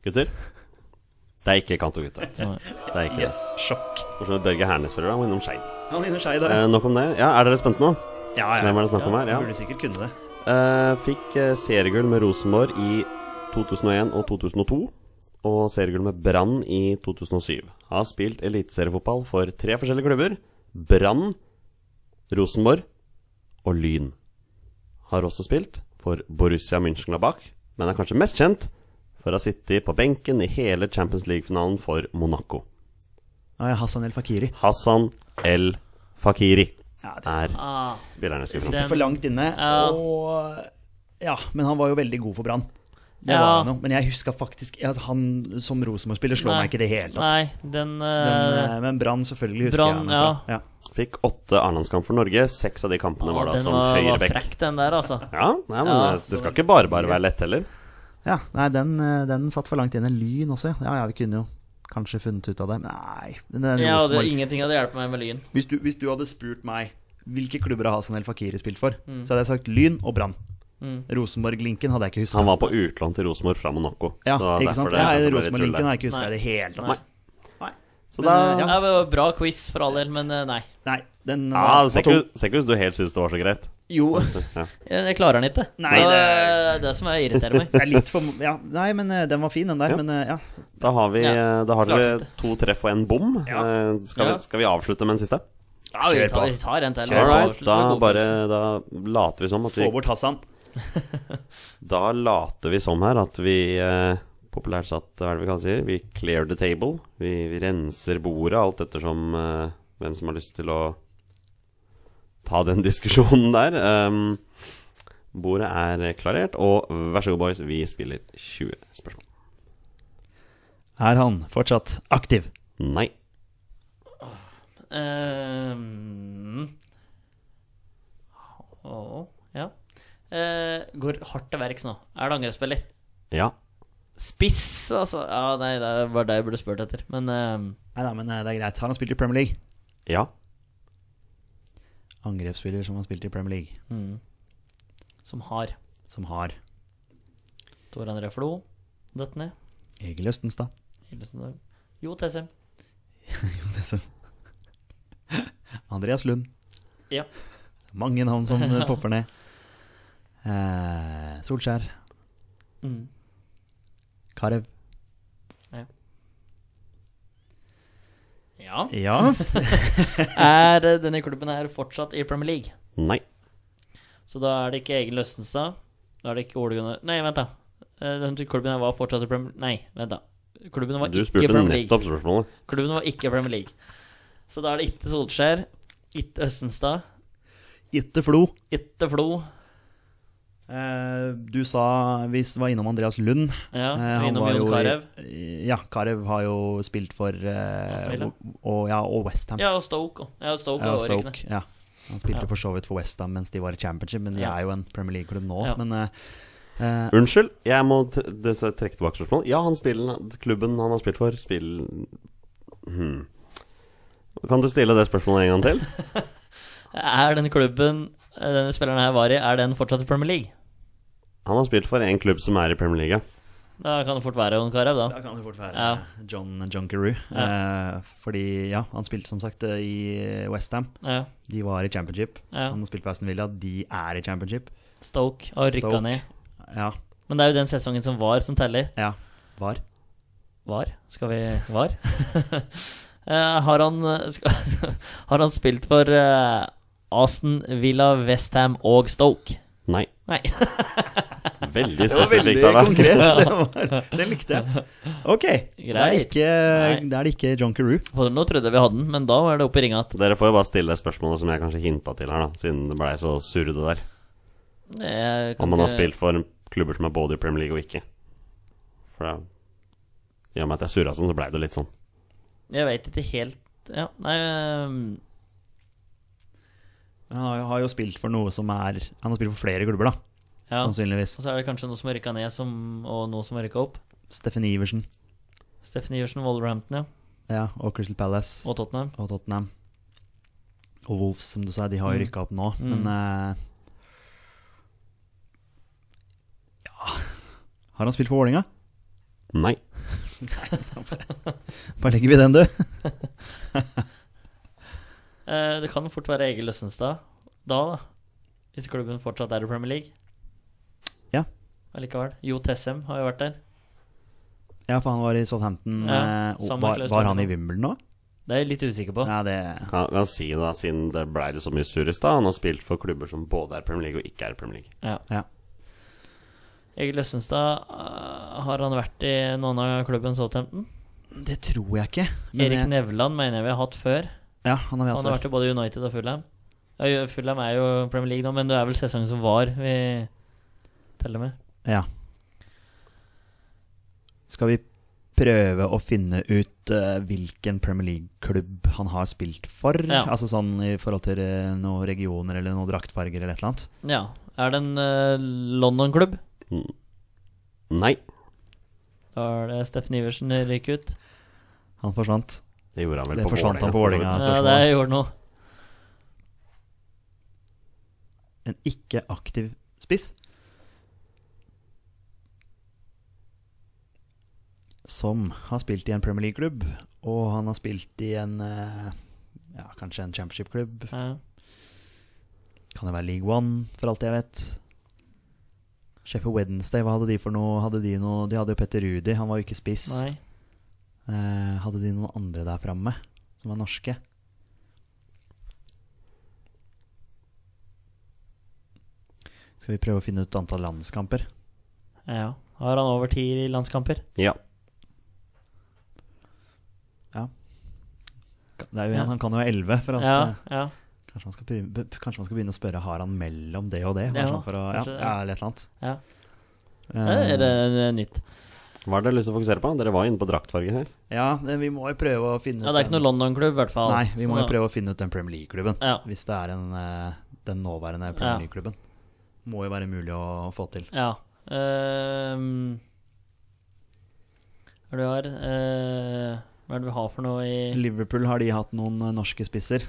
S2: Gutter? Det er ikke Kanto Gutta. Det
S4: Nei.
S2: er ikke
S3: Yes, sjokk.
S2: det. Hvordan er Børge Hernes spiller, da? Må innom Skeid.
S3: Han er innom Skeid, da.
S2: Eh, nok om det. Ja, er dere spent nå?
S3: Ja, ja.
S2: Hvem er det snakk om her?
S3: ja.
S2: Ja.
S3: Burde sikkert kunne det.
S2: Eh, fikk eh, seriegull med Rosenborg i 2001 og 2002. Og seriegull med Brann i 2007. Har spilt eliteseriefotball for tre forskjellige klubber. Brann, Rosenborg og Lyn. Har også spilt for Borussia München-Labach, men er kanskje mest kjent for å ha sittet på benken i hele Champions League-finalen for Monaco.
S3: Ah, ja, Hassan El Fakiri.
S2: Hassan El Fakiri
S3: Ja, det
S2: er
S4: Ah,
S2: spilleren jeg skulle fram til.
S4: Den-
S3: for langt inne.
S4: Ja.
S3: Og ja, men han var jo veldig god for Brann. Det
S4: Ja.
S3: var han jo. Men jeg huska faktisk at han som Rosenborg-spiller slår
S4: Nei.
S3: meg ikke i det hele tatt.
S4: nei, den,
S3: Men,
S4: eh,
S3: eh, men Brann, selvfølgelig husker
S4: Brann,
S3: jeg han fra. Ja.
S2: Fikk åtte A-landskamp for Norge. Seks av de kampene var da
S4: Den
S2: som
S4: var, var
S2: høyrebekk.
S4: frekk, den der, altså.
S2: Ja, nei, men
S4: Ja,
S2: det, det skal ikke bare bare være lett heller.
S3: Ja, nei, den, eh, den satt for langt inne. Lyn også, ja. ja. ja, Vi kunne jo kanskje funnet ut av det. Men Nei, den den
S4: Jeg hadde
S3: Rosenborg
S4: ingenting hadde hjulpet meg med Lyn.
S3: hvis, du- hvis du hadde spurt meg hvilke klubber har Hassan El Fakiri spilt for,
S4: Mm.
S3: så hadde jeg sagt Lyn og Brann. Rosenborg-linken hadde jeg ikke huska.
S2: Han var på utlån til Rosenborg fra Monaco.
S3: Ja,
S2: så det var
S3: ikke sant?
S2: derfor det-
S3: Nei,
S2: derfor det var litt
S3: Rosenborg-linken
S2: tull
S3: har
S2: der.
S3: jeg ikke huska i det hele
S4: Nei.
S3: tatt. Nei.
S2: Så
S3: Men,
S2: da-
S3: eh, ja.
S4: Ja, det var bra quiz, for all del, men eh, nei.
S3: Nei, den
S2: Ja,
S3: var,
S2: det
S3: var
S2: ser ikke
S3: tung.
S2: ut- ser ikke ut som du helt syns det var så greit.
S4: Jo,
S2: Ja.
S4: jeg jeg klarer den ikke.
S3: Nei,
S4: det
S3: det-
S4: er det som jeg irriterer meg.
S3: Det er litt for Ja, nei, men eh, den var fin, den der.
S2: Ja.
S3: Men eh, ja.
S2: Da har, vi, eh,
S4: Ja,
S2: da har
S4: klart
S2: dere
S4: det.
S2: to treff og en bom.
S3: Ja.
S2: Eh, Skal,
S4: Ja.
S2: vi, skal vi avslutte med en siste?
S4: Ja, vi
S3: Kjør
S4: tar,
S3: på.
S4: vi tar en til.
S3: Kjør
S2: All
S3: på.
S2: right,
S4: Avslutt med
S2: da,
S4: god følelse.
S2: bare, da later vi som at
S3: Få
S2: vi,
S3: bort Hassan.
S2: da later vi som her at vi eh, Populært satt, hva er det vi kan si? Vi clear the table. Vi, vi renser bordet, alt ettersom eh, hvem som har lyst til å ta den diskusjonen der. Ehm, bordet er klarert, og vær så god, boys, vi spiller 20 spørsmål.
S3: Er han fortsatt aktiv?
S2: Nei.
S4: Eh, Ehm. Å, ja. Eh, går hardt til verks nå. Er det angrepsspiller?
S2: Ja.
S4: Spiss, altså. Ja, nei, det var det jeg burde spurt etter. Men ehm,
S3: Nei da, men eh, det er greit. Har han spilt i Premier League?
S2: Ja.
S3: Angrepsspiller som har spilt i Premier League,
S4: mm, som har
S3: som har
S4: Tor André Flo dødt ned.
S3: Egil Østenstad.
S4: Hildesenberg. Jo TSM.
S3: Jo, det er så- Andreas Lund.
S4: Ja.
S3: Mange navn som eh, popper ned. Eh, Solskjær.
S4: Mm.
S3: Karev.
S4: Ja.
S3: Ja.
S4: Er eh, denne klubben her fortsatt i Premier League?
S2: Nei.
S4: Så da er det ikke Egil Østenstad. Da er det ikke Ole Gunnar Nei, vent, da. Eh, Den klubben her var fortsatt i Premier Nei, vent, da. Klubben var
S2: Du
S4: ikke
S2: spurte
S4: Premier League.
S2: nettopp spørsmålet.
S4: Klubben var ikke Premier League. Så da er det ikke Solskjær, ikke Østenstad,
S3: Itte Flo.
S4: ikke Flo.
S3: Eh, du sa vi var innom Andreas Lund.
S4: Ja,
S3: Eh,
S4: vi er innom
S3: var
S4: Jon
S3: jo i-
S4: Carew.
S3: Ja, Karev har jo spilt for eh,
S4: Aston Villa.
S3: og, og, ja, og Westham.
S4: Ja, og Stoke òg. Ja, Stoke
S3: Ja,
S4: var
S3: og
S4: jo riktig.
S3: Stoke. Ja. Han spilte
S4: Ja.
S3: for så vidt for Westham mens de var i Championship, men de
S4: Ja.
S3: er jo en Premier League-klubb nå.
S4: Ja.
S3: Men eh, eh,
S2: Unnskyld, jeg må t det- trekke tilbake spørsmålet. Ja, han spiller, klubben han har spilt for, spill... Hmm. Kan du stille det spørsmålet en gang til?
S4: Er den klubben eh, denne spilleren her var i, er den fortsatt i Premier League?
S2: Han har spilt for en klubb som er i Premier League.
S4: Da kan det fort være Jon Carew, da.
S3: Da kan det fort være
S4: Ja.
S3: John Junkeroo. Eh, fordi ja, han spilte som sagt eh, i Westham.
S4: Ja.
S3: De var i championship.
S4: Ja.
S3: Han har spilt for Aston Villa, de er i championship.
S4: Stoke har rykka
S3: Stoke.
S4: ned.
S3: Ja,
S4: Men det er jo den sesongen som var, som teller.
S3: ja. Var.
S4: Var? Skal vi Var? Eh, har, han, eh, skal, har han spilt for eh, Aston Villa, Westham og Stoke?
S2: Nei.
S4: Nei.
S2: Veldig spesifikt av deg.
S3: konkret. Det var, den likte jeg. Ok. Da er det
S4: Greit.
S3: ikke,
S4: Nei.
S3: da er det ikke Junkeroo.
S4: For Nå trodde jeg vi hadde den, men da var det oppe i ringa igjen.
S2: Dere får jo bare stille det spørsmålet som jeg kanskje hinta til her, da. Siden det blei så surre det der.
S4: Jeg kan
S2: Om han har
S4: ikke-
S2: spilt for klubber som er både i Premier League og ikke. For det I og med at jeg surra sånn, så blei det litt sånn.
S4: Jeg veit ikke helt Ja, nei eh,
S3: Han har jo- har jo spilt for noe som er Han har spilt for flere klubber, da.
S4: ja.
S3: Sannsynligvis.
S4: Og så er det kanskje noe som har rykka ned, som, og noe som har rykka opp.
S3: Steffen Iversen
S4: Steffen Iversen, Wolverhampton, ja.
S3: ja, og Crystal Palace og,
S4: Og Tottenham.
S3: Tottenham. Og Wolves, som du sa. De har jo rykka opp nå,
S4: Mm.
S3: men eh, Ja Har han spilt for Vålerenga?
S2: Nei.
S3: Bare legger vi den, du.
S4: Eh, det kan fort være Egil Løssenstad da, da. Hvis klubben fortsatt er i Premier League.
S3: Ja.
S4: Allikevel. Jo Tessem har jo vært der.
S3: Ja, for han var i Southampton.
S4: Ja,
S3: eh, og
S4: samme
S3: var,
S4: klaus-
S3: var han i Wimbledon nå?
S4: Det er jeg litt usikker på.
S3: Ja, det
S2: Kan, kan si det, da, siden det blei litt så mye surr i stad. Han har spilt for klubber som både er Premier League og ikke er Premier League.
S4: Ja.
S3: Ja.
S4: Egil Løssenstad, eh, har han vært i noen av klubben Southampton?
S3: Det tror jeg ikke. Men
S4: Erik
S3: jeg,
S4: Nevland mener jeg vi har hatt før.
S3: ja, han har vi
S4: Han har
S3: ansvar.
S4: vært i både United og Fulham. Ja, jo, Fulham er jo Premier League nå, men det er vel sesongen som var vi teller med.
S3: Ja. Skal vi prøve å finne ut eh, hvilken Premier League-klubb han har spilt for?
S4: Ja.
S3: Altså sånn i forhold til eh, noen regioner eller noen draktfarger eller et eller annet.
S4: Ja. Er det en eh, London-klubb?
S2: Nei.
S4: Da er det Steffen Iversen ryk ut.
S3: Han forsvant.
S2: Det gjorde han vel
S3: Det
S2: på
S3: forsvant han på
S2: Vålerenga.
S3: Vålerenga.
S2: for så vidt.
S4: Ja,
S3: spørsmålet.
S4: det gjorde noe.
S3: En ikke aktiv spiss. Som har spilt i en Premier League-klubb, og han har spilt i en eh, Ja, kanskje en championship-klubb.
S4: Ja.
S3: Kan det være League One, for alt jeg vet? Sheffield Wednesday, hva hadde de for noe? Hadde de, noe? de hadde jo Petter Rudi, han var jo ikke spiss.
S4: Nei.
S3: Eh, hadde de noen andre der framme som var norske? Skal vi prøve å finne ut antall landskamper?
S4: Ja. Har han over ti i landskamper?
S2: Ja.
S3: Det er jo en,
S4: Ja.
S3: Han kan jo ha elleve. for alt,
S4: Ja,
S3: eh,
S4: ja.
S3: Kanskje, han skal begynne, be- kanskje man skal begynne å spørre har han mellom det og det? Bare
S4: Ja,
S3: sånn for å, ja,
S4: kanskje det.
S3: ja, eller et eller annet.
S4: Ja.
S3: Eh,
S4: Er det er nytt?
S2: Hva er det dere har lyst til å fokusere på? Dere var inne på draktfarger her.
S3: ja, eh, vi må jo prøve å finne
S4: Ja, det er ikke noe London-klubb, i hvert fall.
S3: Nei, vi
S4: Så
S3: må jo
S4: da-
S3: prøve å finne ut den Premier League-klubben.
S4: Ja.
S3: Hvis det er en, eh, den nåværende
S4: Ja.
S3: Premier League-klubben. Må jo være mulig å få til.
S4: Ja. Ehm, Hva er det vi har? Eh, hva er det vi har for noe i
S3: Liverpool, har de hatt noen eh, norske spisser?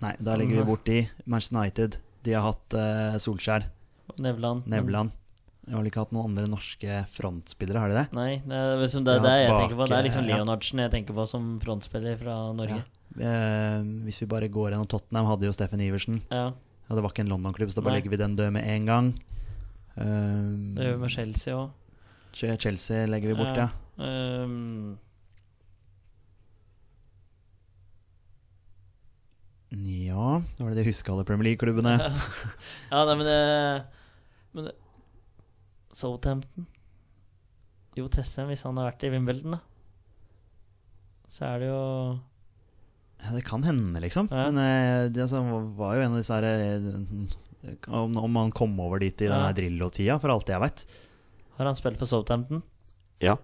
S3: Nei. Da legger vi bort de. Manchester United, de har hatt eh, Solskjær,
S4: Nevland?
S3: Nevland. De har vel ikke hatt noen andre norske frontspillere, har de det?
S4: Nei, det er liksom det,
S3: Ja,
S4: det jeg
S3: bak,
S4: tenker på. Det er liksom
S3: ja.
S4: Leonardsen jeg tenker på som frontspiller fra Norge.
S3: Eh, hvis vi bare går gjennom Tottenham, hadde jo Steffen Iversen.
S4: Ja,
S3: Ja, det var ikke en London-klubb, så da bare
S4: Nei.
S3: legger vi den død med en gang. Eh,
S4: Det gjør vi med Chelsea òg.
S3: Che- Chelsea legger vi bort,
S4: Ja. ehm,
S3: ja. Ja nå. Det var det de huska alle Premier League-klubbene.
S4: Ja, nei, men det Men det Southampton Jo Tessem, hvis han har vært i Wimbledon, da. Så er det jo
S3: Ja, det kan hende, liksom.
S4: Ja.
S3: Men eh, det altså, var jo en av disse her eh, om, om han kom over dit i den
S4: Ja.
S3: her Drillo-tida, for alt jeg veit.
S4: Har han spilt for Southampton?
S2: Ja.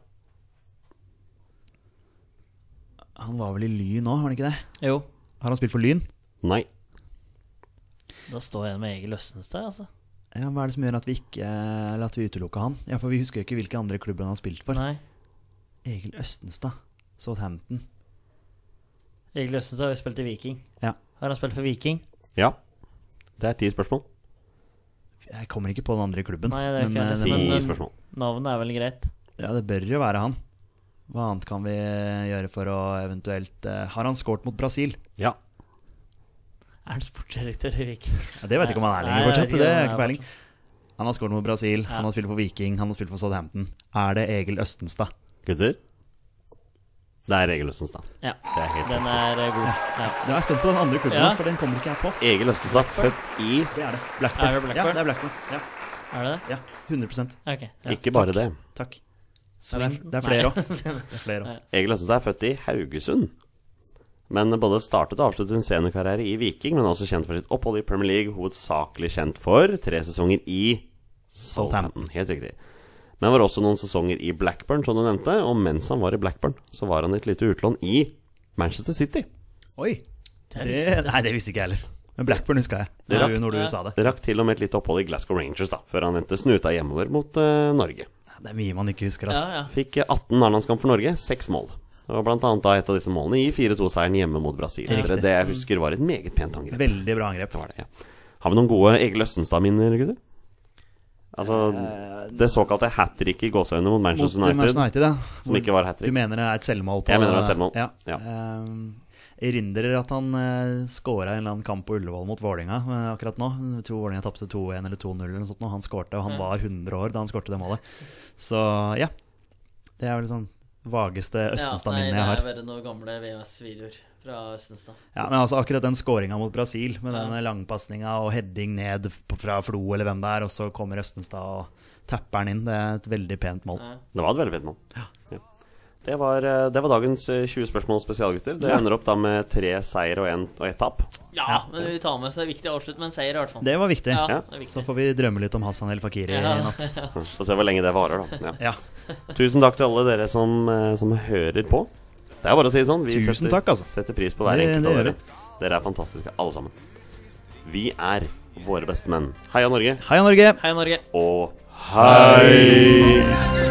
S3: Han var vel i Lyn òg, var han ikke det?
S4: Jo.
S3: Har han spilt for Lyn?
S2: Nei.
S4: Da står jeg igjen med Egil Østenstad, altså.
S3: Ja, Hva er det som gjør at vi ikke Eller at vi utelukka han? Ja, For vi husker jo ikke hvilke andre klubber han har spilt for.
S4: Nei.
S3: Egil Østenstad. Southampton.
S4: Egil Østenstad har jo spilt i Viking.
S3: Ja.
S4: Har han spilt for Viking?
S2: Ja. Det er ti spørsmål.
S3: Jeg kommer ikke på den andre klubben.
S4: Nei, det er ikke
S3: men,
S4: jeg
S3: eh,
S2: Ti
S4: men- men-
S2: spørsmål.
S4: Navnet er vel greit.
S3: ja, det bør jo være han. Hva annet kan vi eh, gjøre for å eventuelt eh, Har han scoret mot Brasil?
S2: Ja.
S4: Er han sportsdirektør i Viking?
S3: Ja, det vet jeg ikke om han er
S4: Nei,
S3: lenger,
S4: jeg vet
S3: fortsatt. Det
S4: ikke om
S3: er
S4: han er
S3: ikke peiling. Han har skåret mot Brasil, han har spilt for Viking, han har spilt for Southampton. Er det Egil Østenstad?
S2: Gutter? Det er Egil Østenstad.
S4: Ja.
S2: Det er helt
S4: Den er eh, god. Ja.
S3: Jeg er spent på den andre klubben
S4: Ja.
S3: hans, for den kommer ikke jeg på.
S2: Egil Østenstad, født i
S3: Det er det. Blackburn.
S4: Er det Blackburn?
S3: Ja, det er Blackburn. Ja,
S4: Er det det?
S3: ja 100
S4: Ok. Ja.
S2: Ikke bare det.
S3: Takk. Det er,
S4: Swindon?
S3: det er flere òg. Det er flere også.
S2: Egil Østenstad er født i Haugesund. Men både startet og avsluttet sin seniorkarriere i Viking, men er også kjent for sitt opphold i Premier League, hovedsakelig kjent for tre sesonger i Southampton. Helt riktig. Men var også noen sesonger i Blackburn, som du nevnte. Og mens han var i Blackburn, så var han i et lite utlån i Manchester City.
S3: Oi. Det, nei, det visste ikke jeg heller. Men Blackburn huska jeg,
S2: Det
S3: når
S2: rakk-
S3: du, når du sa det.
S2: Rakk til og med et lite opphold i Glasgow Rangers, da, før han vendte snuta hjemover mot eh, Norge.
S3: Det er mye man ikke husker,
S4: Ja,
S3: altså.
S4: ja.
S2: Fikk 18 A-landskamp for Norge, seks mål. Og blant annet da et av disse målene i 4-2-seieren hjemme mot Brasil.
S3: Riktig.
S2: Det jeg husker var et meget pent angrep.
S3: Veldig bra angrep.
S2: Det var det, ja. Har vi noen gode Egil Østenstad-minner, gutter? Altså, det såkalte hat trick i gåseøynene mot
S3: Eh, Mot
S2: Manchester
S3: eh,
S2: United,
S3: Manchester United, ja.
S2: som ikke var hat
S3: Du
S2: trick.
S3: mener det er et selvmål på
S2: Jeg mener det er et selvmål,
S3: Ja.
S2: ja.
S3: Ehm, erindrer at han uh, scora en eller annen kamp på Ullevål mot Vålinga eh, akkurat nå. Jeg tror Vålinga tapte 2-1 eller 2-0 eller noe sånt nå. Han skårte,
S4: Mm.
S3: og han var 100 år da han skårte det målet. Så ja. Det er vel sånn vageste Østenstad-minnet jeg har.
S4: Det er bare noen gamle VHS-videoer fra Østenstad.
S3: Ja, men altså Akkurat den skåringa mot Brasil, med den langpasninga og heading ned på- fra Flo eller hvem det er, og så kommer Østenstad og tapper den inn. Det er et veldig pent mål.
S4: Ja.
S2: Det var et veldig fint mål. Ja. Det var, eh, det var dagens eh, 20 spørsmål spesialgutter. Det ender opp da med tre seier og en- og ett tap.
S4: Ja, men vi tar med så det er viktig å avslutte med en seier, i hvert fall.
S3: Det var viktig.
S4: ja,
S2: ja.
S4: det er
S3: Så
S4: viktig.
S3: får vi drømme litt om Hassan El Fakiri
S4: Ja.
S3: i natt.
S2: Få se hvor lenge det varer, da. Ja.
S3: Ja.
S2: Tusen takk til alle dere som, eh, som hører på. Det er bare å si det sånn. Vi
S3: Tusen
S2: setter,
S3: takk, altså.
S2: setter pris på hver
S3: Det-
S2: enkelt
S3: det
S2: av
S3: gjør
S2: dere. Dere er fantastiske, alle sammen. Vi er våre beste menn. Heia Norge,
S3: Heia Norge!
S4: Hei, Norge.
S2: og hei!